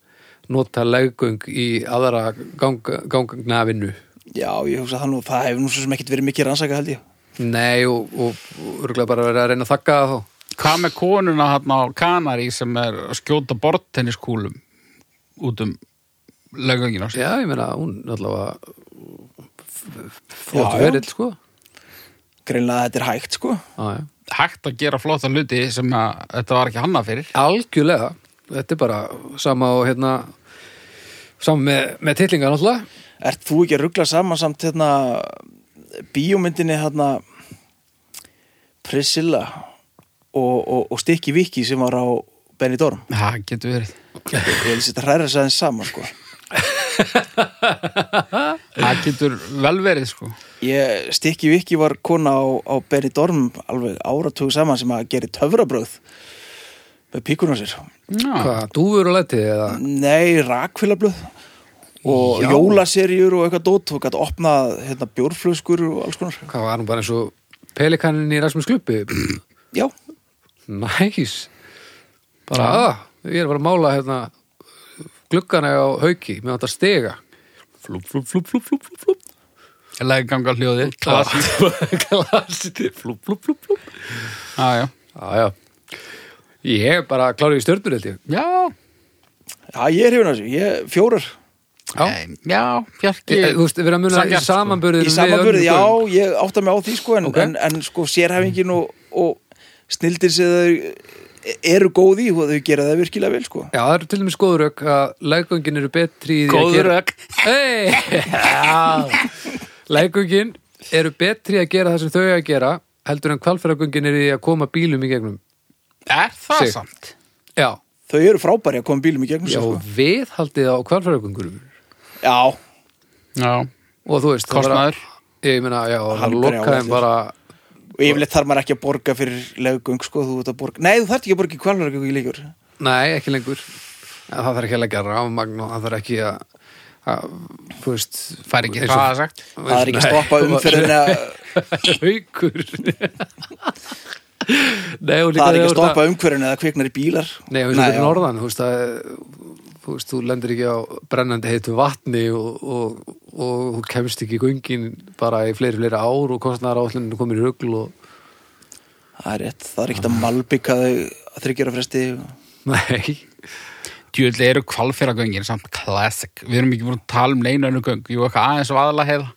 Speaker 1: nota leggöng í aðra gang, gangna vinnu.
Speaker 2: Já, ég hugsa það nú, það hefur nú svo sem ekkert verið mikið rannsaka held ég
Speaker 1: Nei, og, og, og örgulega bara verið að reyna að þakka það þá.
Speaker 3: Hvað með konuna hann á Kanari sem er að skjóta borttenniskúlum út um lögöngina?
Speaker 1: Já, ég meina, hún allavega
Speaker 2: Já,
Speaker 1: flott
Speaker 2: já.
Speaker 1: verill, sko.
Speaker 2: Greinlega þetta er hægt sko
Speaker 1: Já, já.
Speaker 3: Hægt að gera flotta hluti sem að þetta var ekki hanna fyrir.
Speaker 1: Algjörlega, þetta er bara sama og hérna sama með, með titlingar náttúrulega
Speaker 2: Ert þú ekki að ruggla saman samt hérna bíómyndinni hérna Priscilla og, og, og Stikki Viki sem var á Benidorm
Speaker 3: Það getur verið.
Speaker 2: Ég vil setja hræra þess aðeins saman sko
Speaker 3: það getur vel verið sko
Speaker 2: Ég, Stikki Viki var kona á, á Benidorm alveg áratug saman sem að gera töfrabröð með píkunum sér
Speaker 3: Já,
Speaker 1: Hvað, dúfur og letið eða?
Speaker 2: Nei, rakfélablöð og
Speaker 1: Já.
Speaker 2: jólaserjur og eitthvað dót og gætt opnað hérna, bjórflöskur og alls konar
Speaker 1: Hvað var hann bara eins og pelikanin í Rasmus Klubbi?
Speaker 2: Já,
Speaker 1: Næs Bara, að, ég er bara að mála hérna gluggana á hauki með þetta stega Flúp, flúp, flúp, flúp, flúp, flúp, flúp
Speaker 3: ég lagi ganga hljóði Klassískt.
Speaker 1: Klassið Flúp, flúp, flúp, flúp
Speaker 3: Já, já,
Speaker 1: Já, já Ég er bara klárið í stjörnur, held ég
Speaker 3: já,
Speaker 2: já ég er hefur þessu, ég fjórar
Speaker 1: Já.
Speaker 3: Nei, já Bjarki
Speaker 1: Ég, þú veist, við erum að muna í
Speaker 3: Sanngjarnt, sko.
Speaker 1: samanburðið
Speaker 2: Í samanburði, já, ég átta mig á því sko en,
Speaker 1: Ok.
Speaker 2: en, en sko sérhæfingin og, og snildir sem þau eru góð í og þau gera það virkilega vel sko
Speaker 1: Já, það eru til dæmis góður ök að leggöngin eru betri í því að
Speaker 3: Góður
Speaker 1: gera...
Speaker 3: ök.
Speaker 1: Góður ök! Leggöngin eru betri í að gera það sem þau eiga að gera heldur en kvalfæragöngin eru í að koma bílum í gegnum.
Speaker 3: Er það
Speaker 1: Sig.
Speaker 3: samt?
Speaker 1: Já,
Speaker 2: Þau eru frábæri að koma bílum í gegnum
Speaker 1: já
Speaker 2: sér sko
Speaker 1: og við haldið á kvalfæragöngurum.
Speaker 2: Já,
Speaker 3: Já,
Speaker 1: Og þú veist, það var að-
Speaker 3: kostnaður
Speaker 1: Ég meina, já,
Speaker 2: Hann
Speaker 1: það
Speaker 2: brjálæður.
Speaker 1: lokaðum bara...
Speaker 2: og yfirleitt þarf maður ekki að borga fyrir leggöng sko, þú ert að borga Nei, þú þarft ekki að borga í kvalverku í leikur
Speaker 1: Nei, ekki lengur. En það þarf ekki að leggja rafmagn og það þarf ekki að... að þú veist...
Speaker 3: Fær ekki
Speaker 1: eins og-
Speaker 3: það sagt
Speaker 2: Það er ekki að
Speaker 1: Nei.
Speaker 2: stoppa umferðina
Speaker 1: haukur Nei, og
Speaker 2: Það er ekki
Speaker 1: líka þegar
Speaker 2: að
Speaker 1: þú ert
Speaker 2: stoppa umhverfinu eða kviknar í bílar
Speaker 1: Nei, og líka fyrir norðan, þú veist að þú veist, þú lendir ekki á brennandi heitu vatni og, og, og þú kemst ekki í göngin bara í fleiri, fleiri ár og kostnæðar átluninu komir í rugl og
Speaker 2: Það er rétt, það er ekkert að malbygga þau að þryggjara fresti
Speaker 1: nei,
Speaker 3: Djúlega eru kvalfyrragöngin samt classic Við erum ekki búin að tala um neina önnu göng Jú, eitthvað aðeins og aðla heiða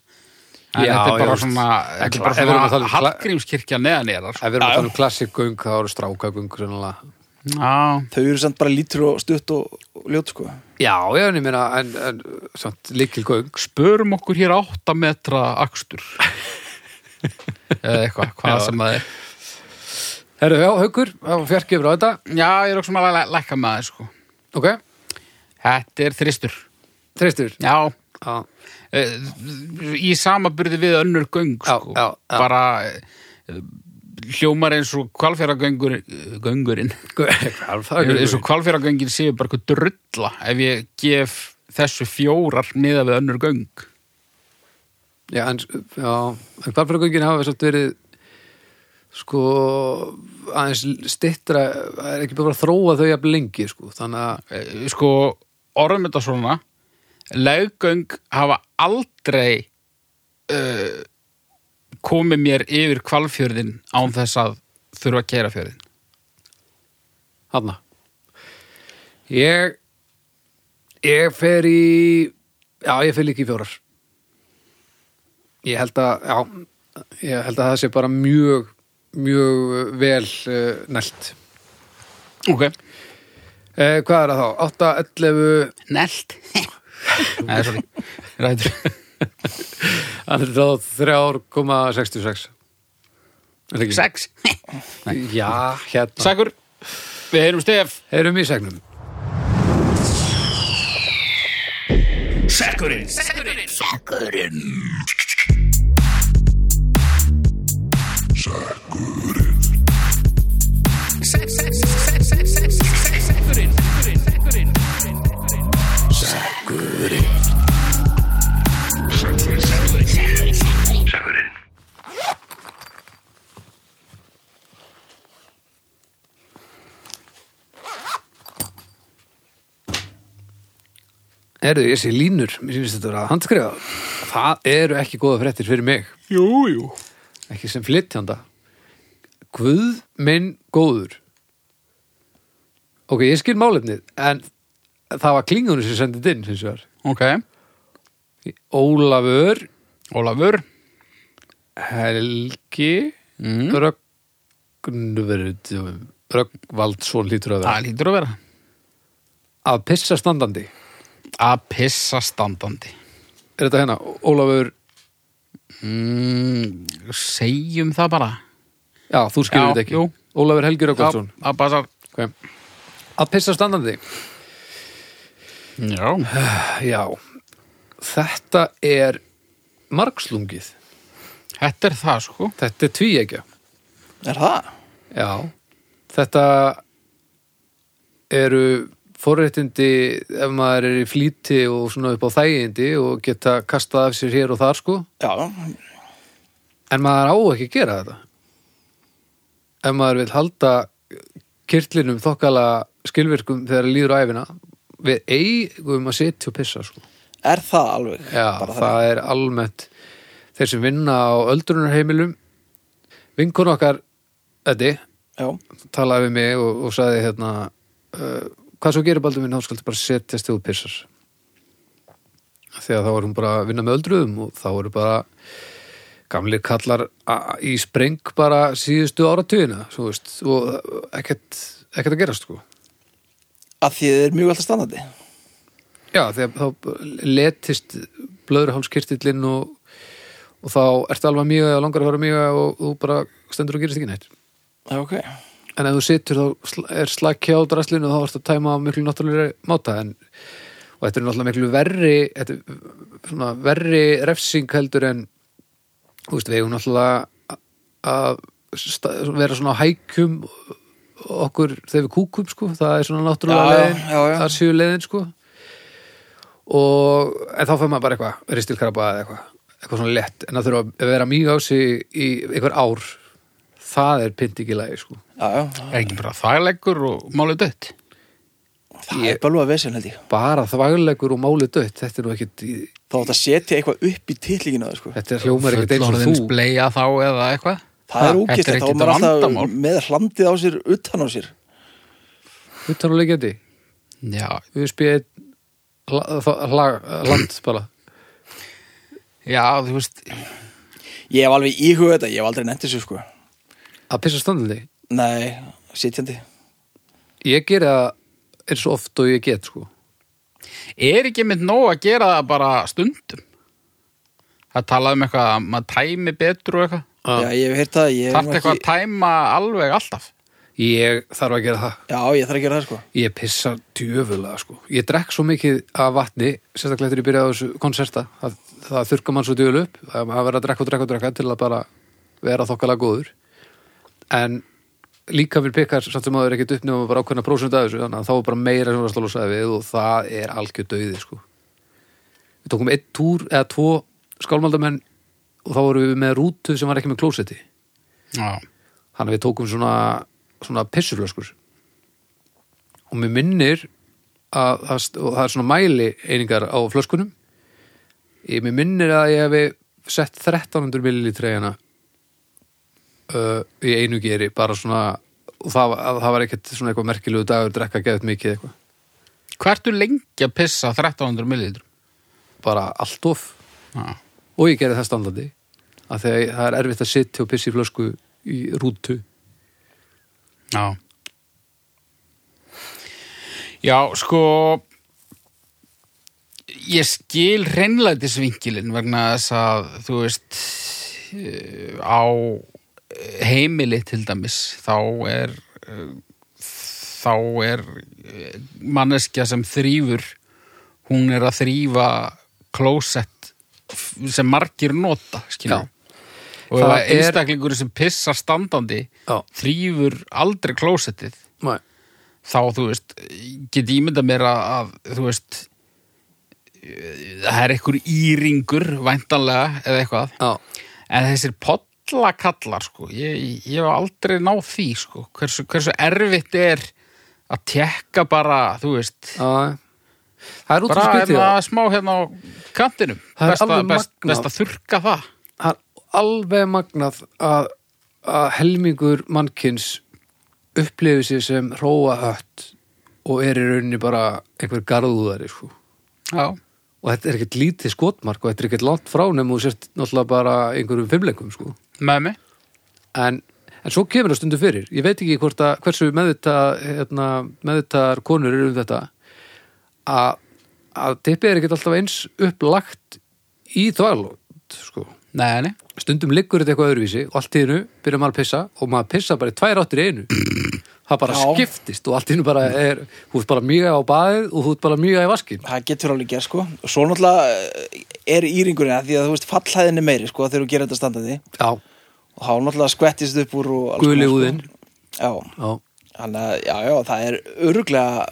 Speaker 1: Já,
Speaker 3: En þetta er
Speaker 1: já,
Speaker 3: bara
Speaker 1: veist.
Speaker 3: svona, þetta er
Speaker 1: Ef við erum
Speaker 3: bara
Speaker 1: að tala
Speaker 3: svona
Speaker 1: um kla-
Speaker 3: Hallgrímskirkja neðan sko. er
Speaker 1: ef við erum að tala um klassikgöng þá eru strákagöng sennilega.
Speaker 3: Já,
Speaker 2: Þau eru samt bara lítur og stutt og, og ljót sko
Speaker 1: Já, já, en ég meina en, en, samt líkilgöng
Speaker 3: spörum okkur hér 8 metra akstur eða eitthvað, hvað sem það er
Speaker 1: Herru, já, haukur, þá fjarki yfir á þetta
Speaker 3: já, ég er okkur sem að læ- lækka með það sko.
Speaker 1: ok,
Speaker 3: þetta er þristur
Speaker 1: treystur
Speaker 3: já,
Speaker 1: Já,
Speaker 3: eh, í samaburði við önnur göng
Speaker 1: Já,
Speaker 3: sko.
Speaker 1: já, já.
Speaker 3: bara eh, hljómar eins og kvalfjöragöngur göngurinn eins
Speaker 1: hálfagöng
Speaker 3: og kvalfjöragöngin séu bara eitthvað drulla ef ég gef þessu fjórar miða við önnur göng
Speaker 1: Já, en, já, en hvalfjörgöngin hafa svolítið verið sko aðeins stittra, það er ekki bara að þróa þau jafn lengi, sko, þannig að
Speaker 3: Eh, sko, orðum þetta svona leggöng hafa aldrei uh, komið mér yfir kvalfjörðin án þess að þurfa að kæra fjörðin
Speaker 1: hana ég ég fer í já, ég fer líka í fjórar ég held að já, ég held að það sé bara mjög mjög vel uh, nælt
Speaker 3: ok,
Speaker 1: eh, hvað er það þá? 8, 11
Speaker 3: nelt Nei, sorry, ræður
Speaker 1: 3,66 Er það ekki?
Speaker 3: sex,
Speaker 1: Já, hérna
Speaker 3: segur við heyrum stef
Speaker 1: Heyrum í segnum Herðu, ég sé línur, mér finnst þetta að handskrifa Það eru ekki góða fréttir fyrir mig
Speaker 3: jú, jú
Speaker 1: Ekki sem flytjanda Guð minn góður Ok, ég skil málefnið En það var klingunum sem sendið inn, hins vegar
Speaker 3: ok,
Speaker 1: Ólafur
Speaker 3: Ólafur
Speaker 1: Helgi
Speaker 3: Mhm.
Speaker 1: mm. Rögnverð Rögnvaldsson lítur að vera
Speaker 3: það lítur að vera
Speaker 1: Að pissa standandi
Speaker 3: að pissa standandi
Speaker 1: Er þetta hérna, Ólafur
Speaker 3: mm, segjum það bara
Speaker 1: Já, þú skilur
Speaker 3: Já,
Speaker 1: þetta ekki
Speaker 3: jú.
Speaker 1: Ólafur Helgi Rögnvaldsson
Speaker 3: Já, að passa
Speaker 1: Ok. Að pissa standandi
Speaker 3: já,
Speaker 1: Já, Þetta er margslungið.
Speaker 3: Þetta er það, sko.
Speaker 1: Þetta er tvíegja.
Speaker 2: Er það?
Speaker 1: Já, þetta eru forréttindi ef maður er í flýti og svona upp á þægindi og geta kastað af sér hér og þar sko
Speaker 2: Já,
Speaker 1: en maður á ekki að gera þetta ef maður vil halda kyrlinum þokkala skilvirkum þegar líður á æfina við eigum að sitja og pissa sko
Speaker 2: er það alveg?
Speaker 1: Já,
Speaker 2: Bara
Speaker 1: það,
Speaker 2: þannig.
Speaker 1: er almennt þeir sem vinna á öldrunarheimilum vinkun okkar Eddi,
Speaker 2: Já,
Speaker 1: talaði við mig og, og sagði hérna uh, hvað svo gerir Baldur minn, þá skaltu bara setjast þegar þú pissar þegar þá er hún bara að vinna með öldruðum og þá eru bara gamlir kallar a- í spreng bara síðustu áratugina svo veist, og ekkert, ekkert að gerast sko.
Speaker 2: að því þið er mjög alltaf standandi
Speaker 1: já, þegar þá letist blöðurhálskirtillinn og, og þá ertu alveg mjög eða langar að fara mjög og þú bara stendur og gerist ekki neitt
Speaker 2: Já, ok
Speaker 1: en ef þú situr þá sl- er slakja á draslinu og þá varst að tæma á miklu náttúrulega máta en, og þetta er náttúrulega miklu verri þetta, er svona, verri refsing heldur en þú veist, við eigum náttúrulega að sta- vera svona á hækjum okkur þegar við kúkum sko, það er svona
Speaker 2: Já,
Speaker 1: náttúrulega
Speaker 2: já,
Speaker 1: leiðin
Speaker 2: já, já.
Speaker 1: þar séu leiðin sko og en þá fær maður bara eitthvað ristilkrabba eða eitthvað, eitthvað svona lett en það þurfa að vera mjög á sig í einhver ár það er pynt ekki lagi sko
Speaker 2: Já, já,
Speaker 3: Er ekki bara þagleggur og málið dött?
Speaker 2: það er bara alveg að vesinn held ég
Speaker 1: bara þvæglegur og máli dött þetta er nú ekkit, í-
Speaker 2: Þá átt að setja eitthvað upp í titlingina þau, sko.
Speaker 1: þetta er hljómar ekkit eins og þú
Speaker 3: bleia þá eða eitthvað?
Speaker 2: Það er
Speaker 3: Ha, þetta
Speaker 2: ógæst, þá
Speaker 3: ekkert
Speaker 2: er maður alltaf
Speaker 3: vandamál.
Speaker 2: með hlandið á sér, utan á sér
Speaker 1: utan og leikjandi,
Speaker 3: Já,
Speaker 1: USB land bara
Speaker 3: já, þú veist,
Speaker 2: Ég hef alveg íhugað þetta, ég hef aldrei nefnt þessu sko
Speaker 1: að pissa standandi,
Speaker 2: Nei, sitjandi
Speaker 1: ég geri það eins og oft og ég get sko
Speaker 3: er ekki mynd nóg að gera það bara stundum? Það talaði um eitthvað að maður tæmi betur og eitthvað.
Speaker 2: Já, ég hef heyrt það, ég hef
Speaker 3: Þarf
Speaker 2: nú
Speaker 3: eitthvað að tæma alveg alltaf?
Speaker 1: ég þarf að gera það
Speaker 2: Já, ég þarf að gera það sko
Speaker 1: Ég pissa djöfulega sko. Ég drekk svo mikið af vatni, sérstaklega þegar ég byrjaði á þessu konserta. Það, það þurrka mann svo djöful upp, það að vera að drekka og drekka og drekka til að bara vera þokkalega góður. En líka mér pikkar samt sem að það er ekkit uppnefum bara ákveðna prósent af þessu, þannig að þá er bara meira sem var að slólusaði við og það er algjör döiði sko. Við tókum einn túr eða tvo skálmaldamenn og þá vorum við með rútu sem var ekki með klósetti.
Speaker 3: Já.
Speaker 1: Þannig að við tókum svona, svona pissuflöskur og mér minnir að, að og það er svona mæli einingar á flöskunum ég mér minnir að ég hefi sett 1300 millilitra í hana uh, í einu geri bara svona og það, að, það var ekkert svona eitthvað merkilegu dagur drekka geðið mikið eitthvað
Speaker 3: Hvertu lengi að pissa 1300 millilitrum?
Speaker 1: bara allt of
Speaker 3: Já.
Speaker 1: og ég gerði það standandi að þegar það er erfitt að sitja og pissa í flösku í rútu
Speaker 3: Já. Já, sko ég skil reynlætisvinkilin vegna þess að þú veist eh, á heimili til dæmis þá er eh, þá er eh, manneskja sem þrýfur hún er að þrýfa klósett f- sem margir nota skilur
Speaker 1: Já.
Speaker 3: og
Speaker 1: Það
Speaker 3: ef
Speaker 1: er-
Speaker 3: að einstaklingur sem pissar standandi
Speaker 1: Já.
Speaker 3: þrýfur aldrei klósettið
Speaker 1: Nei.
Speaker 3: þá, þú veist, get ímynda mér að, að þú veist eh, það er einhver íringur væntanlega eða eitthvað
Speaker 1: Já.
Speaker 3: en þessir pollakallar sko, ég, ég hef aldrei náð því sko, hversu, hversu erfitt er að tekka bara, þú veist
Speaker 1: Já. það er út
Speaker 3: bara
Speaker 1: að
Speaker 3: hérna smá hérna á kantinum
Speaker 1: Það er
Speaker 3: best að,
Speaker 1: alveg
Speaker 3: best,
Speaker 1: magnað.
Speaker 3: best að þurka það
Speaker 1: það er alveg magnað að, að helmingur mannkins upplifi sig sem hróa hött og er í rauninni bara einhver garðúðari sko.
Speaker 3: já,
Speaker 1: og þetta er ekkert lítið skotmark og þetta er ekkert langt frá nema þú sért náttúrulega bara einhverjum fimmleikum sko.
Speaker 3: með mig
Speaker 1: en, en svo kemur það stundu fyrir ég veit ekki hvort að hversu meðvita hérna, meðvitaðar konur eru um þetta að, að tippið er ekkert alltaf eins upplagt í þvælótt sko
Speaker 3: nei, nei,
Speaker 1: stundum liggur þetta eitthvað öðruvísi og allt í einu byrjar maður að pissa og maður pissa bara í tvær áttir í einu það bara
Speaker 2: Já.
Speaker 1: skiptist og allt innu bara er, þú ert bara mjög á baðið og þú ert bara mjög í vaskin
Speaker 2: það getur alveg gerð sko og svo náttúrulega eh, er íringurinn að því að þú veist fallhæðin er meiri sko þegar þú gerir þetta standandi
Speaker 1: já,
Speaker 2: og þá náttúrulega skvettist upp úr og alls konar,
Speaker 1: Guli
Speaker 2: sko.
Speaker 1: húðin.
Speaker 2: já,
Speaker 1: já,
Speaker 2: þannig að já, já, það er öruglega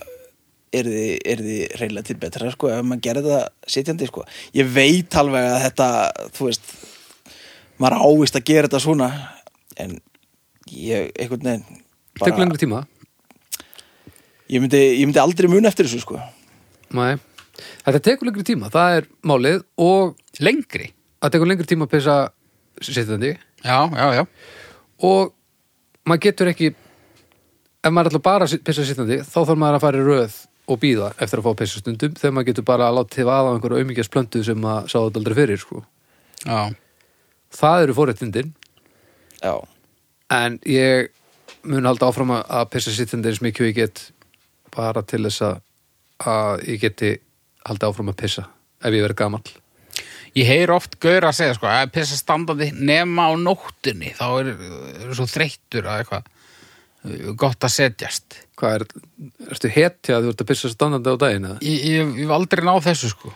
Speaker 2: er því, er því reyla til betra sko ef maður gerir þetta sitjandi sko ég veit alveg að þetta þú veist, maður ávist að gera þetta svona en ég, einhvern veginn
Speaker 1: tekur lengri tíma
Speaker 2: ég, myndi, ég myndi aldrei muna eftir þessu sko
Speaker 1: Nei. þetta tekur lengri tíma, það er málið og
Speaker 3: Lengri?
Speaker 1: það tekur lengri tíma að pissa sittandi
Speaker 3: Já, já, já.
Speaker 1: og maður getur ekki ef maður ætlar bara að sit- pissa sittandi þá þarf maður að fara í röð og býða eftir að fá pissa stundum þegar maður getur bara að láta til aða einhverja aumingjasplöndu sem maður sá þetta aldrei fyrir sko.
Speaker 3: Já,
Speaker 1: það eru fórættindin
Speaker 2: já,
Speaker 1: en ég mun halda áfram að- að pissa sittandi eins mikið og ég get bara til þess að, að ég geti halda áfram að pissa ef ég verið gamall
Speaker 3: Ég heyr oft gaur að segja sko að pissa standandi nema á nóttunni þá er, er svo þreyttur að eitthvað eh, gott að setjast
Speaker 1: hvað er, ertu hetja að þú ert að pissa standandi á daginn eða?
Speaker 3: Ég, ég, ég hef aldrei náð þessu sko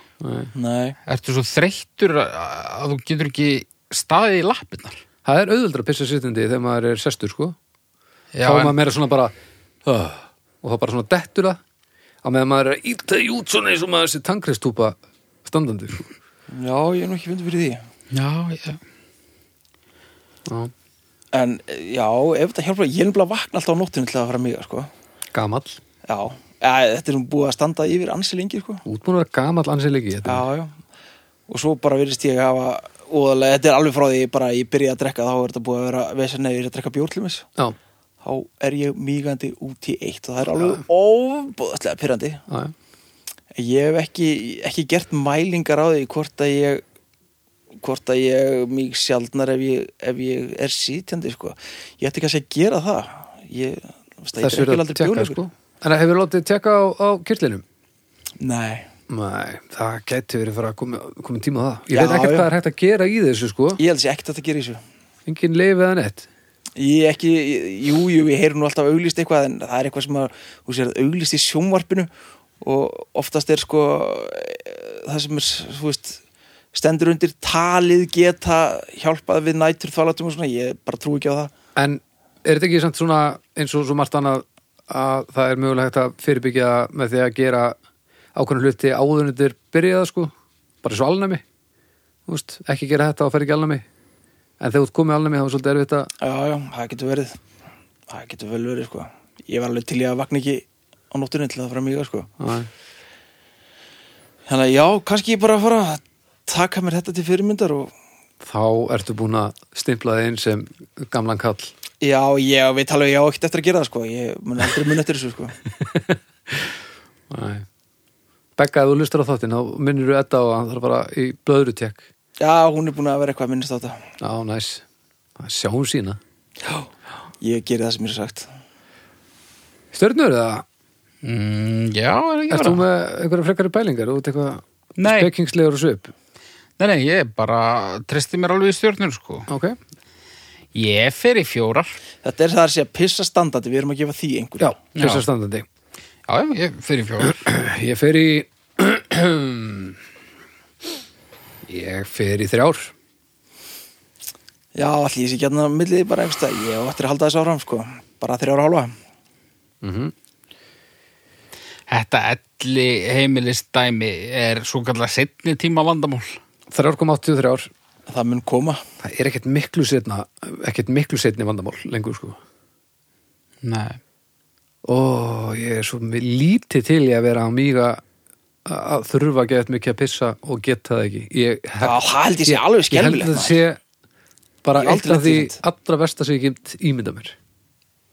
Speaker 2: nei
Speaker 3: Ertu svo þreyttur að, að þú getur ekki staðið í lappirnar
Speaker 1: það er auðvöldra að pissa sittandi þegar maður er sestur sko
Speaker 3: Já,
Speaker 1: þá er
Speaker 3: en-
Speaker 1: maður meira svona bara uh, og það bara svona dettur það að meðan maður er að íta í út svona eins og maður þessi tankristúpa standandi sko.
Speaker 2: já, ég er nú ekki fundið fyrir því
Speaker 3: já, já.
Speaker 1: Já,
Speaker 2: en já, ef þetta hjálpa ég er nefnilega að vakna alltaf á nóttinu til að fara mig sko
Speaker 1: gamall,
Speaker 2: já, ja, þetta er nú búið að standa yfir ansi lengi sko
Speaker 1: útbúin að vera gamall ansið líki þetta
Speaker 2: já, já og svo bara virðist ég að hafa og þetta er alveg frá því ég bara ég byrja að drekka þá er þetta búið að vera vesenni ég er að drekka bjórlumis
Speaker 1: já,
Speaker 2: þá er ég mýgandi út í eitt og það er alveg óbúðastlega pyrrandi
Speaker 1: já, já.
Speaker 2: ég hef ekki, ekki gert mælingar á því hvort að ég hvort að ég mýg sjaldnar ef ég, ef ég er sitjandi sko. ég ætti kannski að gera það ég, veist, að ég
Speaker 1: þessu
Speaker 2: drekki
Speaker 1: er
Speaker 2: aldrei
Speaker 1: að tjekka
Speaker 2: bjórleikur.
Speaker 1: sko. en hefur látið tjekka á, á kyrlinum
Speaker 2: nei,
Speaker 1: Nei, það gæti verið að fara að koma, koma tíma á það Ég
Speaker 2: Já,
Speaker 1: veit ekkert
Speaker 2: já.
Speaker 1: hvað er hægt að gera í þessu sko
Speaker 2: ég held sér ekkert að það gera í þessu
Speaker 1: Engin leifið eða neitt
Speaker 2: Ég ekki, jú, jú, ég heyri nú alltaf auglýst eitthvað en það er eitthvað sem að, þú sér, auglýst í sjónvarpinu og oftast er sko eh, það sem er, þú veist, stendur undir talið geta hjálpað við nætur þvalatum og svona, ég bara trú ekki á það.
Speaker 1: En er þetta ekki samt svona eins og svo margt annað að það er mögulega hægt að fyrirbyggja með því að gera ákveðnum hluti áðunundir byrjaða sko, bara svo alnæmi Þú veist, ekki gera þetta og fer ekki alnæmi en þegar þú ert komið alnæmi þá er svolítið erfitt að
Speaker 2: Já, já, það getur verið, það getur vel verið, sko. Ég var alveg til ég að vakna ekki á nóttunni til það fram í það, sko.
Speaker 1: Æ,
Speaker 2: Þannig að já, kannski ég bara að fara að taka mér þetta til fyrirmyndar og
Speaker 1: þá ertu búin að stimpla þig inn sem gamlan kall
Speaker 2: já, ég veit alveg, ég á ekkert eftir að gera það, sko. Ég mun aldrei mun eftir þessu, sko.
Speaker 1: Æ. Begga, ef þú lustur á þáttinn þá minnir þú þetta og hann þarf bara í blöðrutek
Speaker 2: Já, hún er búin að vera eitthvað að minnast á þetta.
Speaker 1: Já, næs, Það sjáum sína
Speaker 2: Ég geri það sem mér er sagt.
Speaker 1: Stjörnur eða?
Speaker 3: Mm, já, er ekki
Speaker 1: Ertu
Speaker 3: bara
Speaker 1: með einhverja frekari pælingar út eitthvað
Speaker 3: Nei.
Speaker 1: spekingslegur og svip?
Speaker 3: Nei, nei, ég bara treysti mér alveg í stjórnur sko
Speaker 1: Ok,
Speaker 3: Ég fer í fjórar
Speaker 2: Þetta er það að segja pissa standandi, við erum að gefa því einhver.
Speaker 1: já, þessar standandi
Speaker 3: Já, já, ég fer í fjórar
Speaker 1: Ég fer í Ég fer í þrjár
Speaker 2: Já, allir ég sé ekki hérna á milliði bara einhversta. Ég á eftir að halda þessu áram, sko. Bara þrjára hálfa.
Speaker 3: Þetta elli heimilistæmi er svo kallar setni tíma vandamál.
Speaker 1: 3,83
Speaker 2: Það mun koma.
Speaker 1: Það er ekkert miklu setna ekkert miklu setni vandamál lengur sko
Speaker 3: Nei.
Speaker 1: Ó, ég er svo mi- lítið til ég að vera á mýga að þurfa að geta mikið að pissa og geta það ekki Ég,
Speaker 2: Já, það held ég sé alveg
Speaker 1: Ég held
Speaker 2: skelfilegt,
Speaker 1: að
Speaker 2: maður.
Speaker 1: það sé bara
Speaker 2: Ég hef
Speaker 1: eitt
Speaker 2: aldrei
Speaker 1: af því
Speaker 2: lent í þetta.
Speaker 1: allra versta sem ég get ímynda mér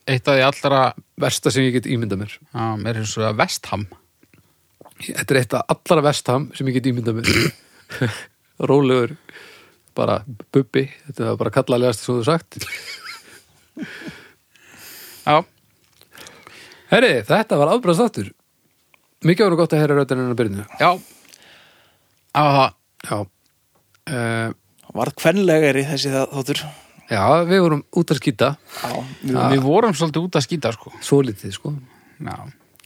Speaker 3: Eitt af því allra,
Speaker 1: versta sem ég get ímynda mér
Speaker 3: á, mér er svo að vestham.
Speaker 1: þetta er eitt af allra vestam sem ég get ímynda mér rólegur bara bubbi, þetta var bara kallalegast sem þú sagt
Speaker 3: Já,
Speaker 1: herri, þetta var afbræðst aftur mikið var nú gott að herra röddinn hennar byrjunu
Speaker 3: já. Á það,
Speaker 1: já uh,
Speaker 2: Varð kvenlega er í þessi það, þóttur.
Speaker 1: Já, við vorum út að skýta
Speaker 2: Já, við,
Speaker 3: Við vorum svolítið út að skýta, sko.
Speaker 1: Svolítið, sko
Speaker 3: Já.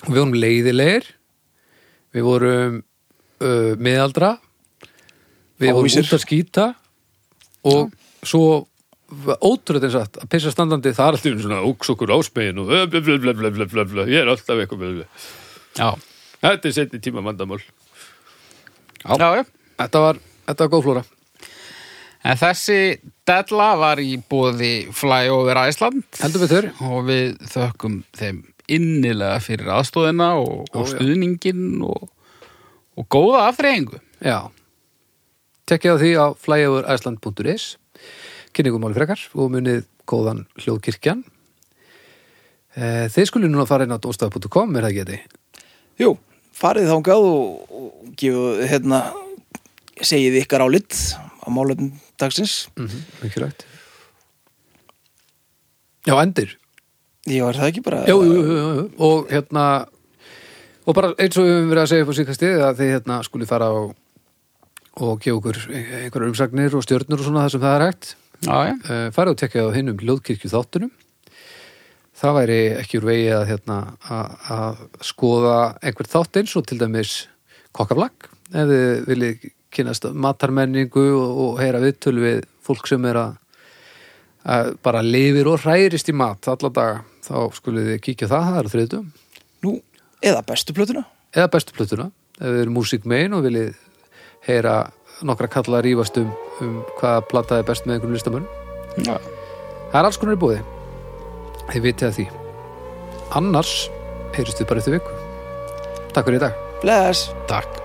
Speaker 1: og við vorum leiðilegir við vorum uh, miðaldra við
Speaker 2: Hávísir.
Speaker 1: vorum út að skýta og svo ótrúðin satt að pissa standandi það er alltaf einu svona úksokur ásmegin og blablabla, ég er alltaf eitthvað með
Speaker 3: Já.
Speaker 1: þetta er setni tíma mandamál
Speaker 3: Já. Já,
Speaker 1: þetta var, þetta var góð flóra
Speaker 3: En þessi della var í bóði Fly Over Iceland.
Speaker 1: heldur við þurr
Speaker 3: og við þökkum þeim innilega fyrir aðstóðina og, og
Speaker 1: Ó, já.
Speaker 3: stuðningin og, og góða afþreyingu.
Speaker 1: já tekkið á því á flyoverisland.is kynningumáli frekar og munið góðan hljóðkirkjan Eh, Þið skulle núna fara inn á dóstað.com, er það geti?
Speaker 2: Jú, farið þángað og, og gefið, hérna, segið ykkar álitt á málefnum dagsins.
Speaker 1: Mhm, mikilvægt já, endir
Speaker 2: Já, er það ekki bara...
Speaker 1: jú, jú, jú, jú, jú. og hérna og bara eins og við höfum verið að segja upp á síkastið að þið hérna skuli fara og, og gefa okkur einhverjar umsagnir og stjörnur og svona það sem það er hægt
Speaker 3: Já, já.
Speaker 1: uh, farið og tekja á hinnum ljóðkirkju þáttunum það væri ekki úr vegi að hérna að- að skoða einhver þátt eins og til dæmis kokkaflag ef þið viljið kynast matarmenningu og, og heyra viðtölu við fólk sem er að, að bara lifir og hrærist í mat alla daga, þá skulið þið kíkja á það það er þriðtum,
Speaker 2: Nú, eða bestu plötuna.
Speaker 1: eða bestu plötuna ef þið eru músikmein og viljið heyra nokkra kalla rífast um, um hvaða plataði best með einhverjum listamönnum
Speaker 3: já.
Speaker 1: Það er alls konar í búði. Þið vitið að því. Annars heyrist við bara eftir viku. Takk fyrir í dag.
Speaker 2: Bless!
Speaker 3: Takk.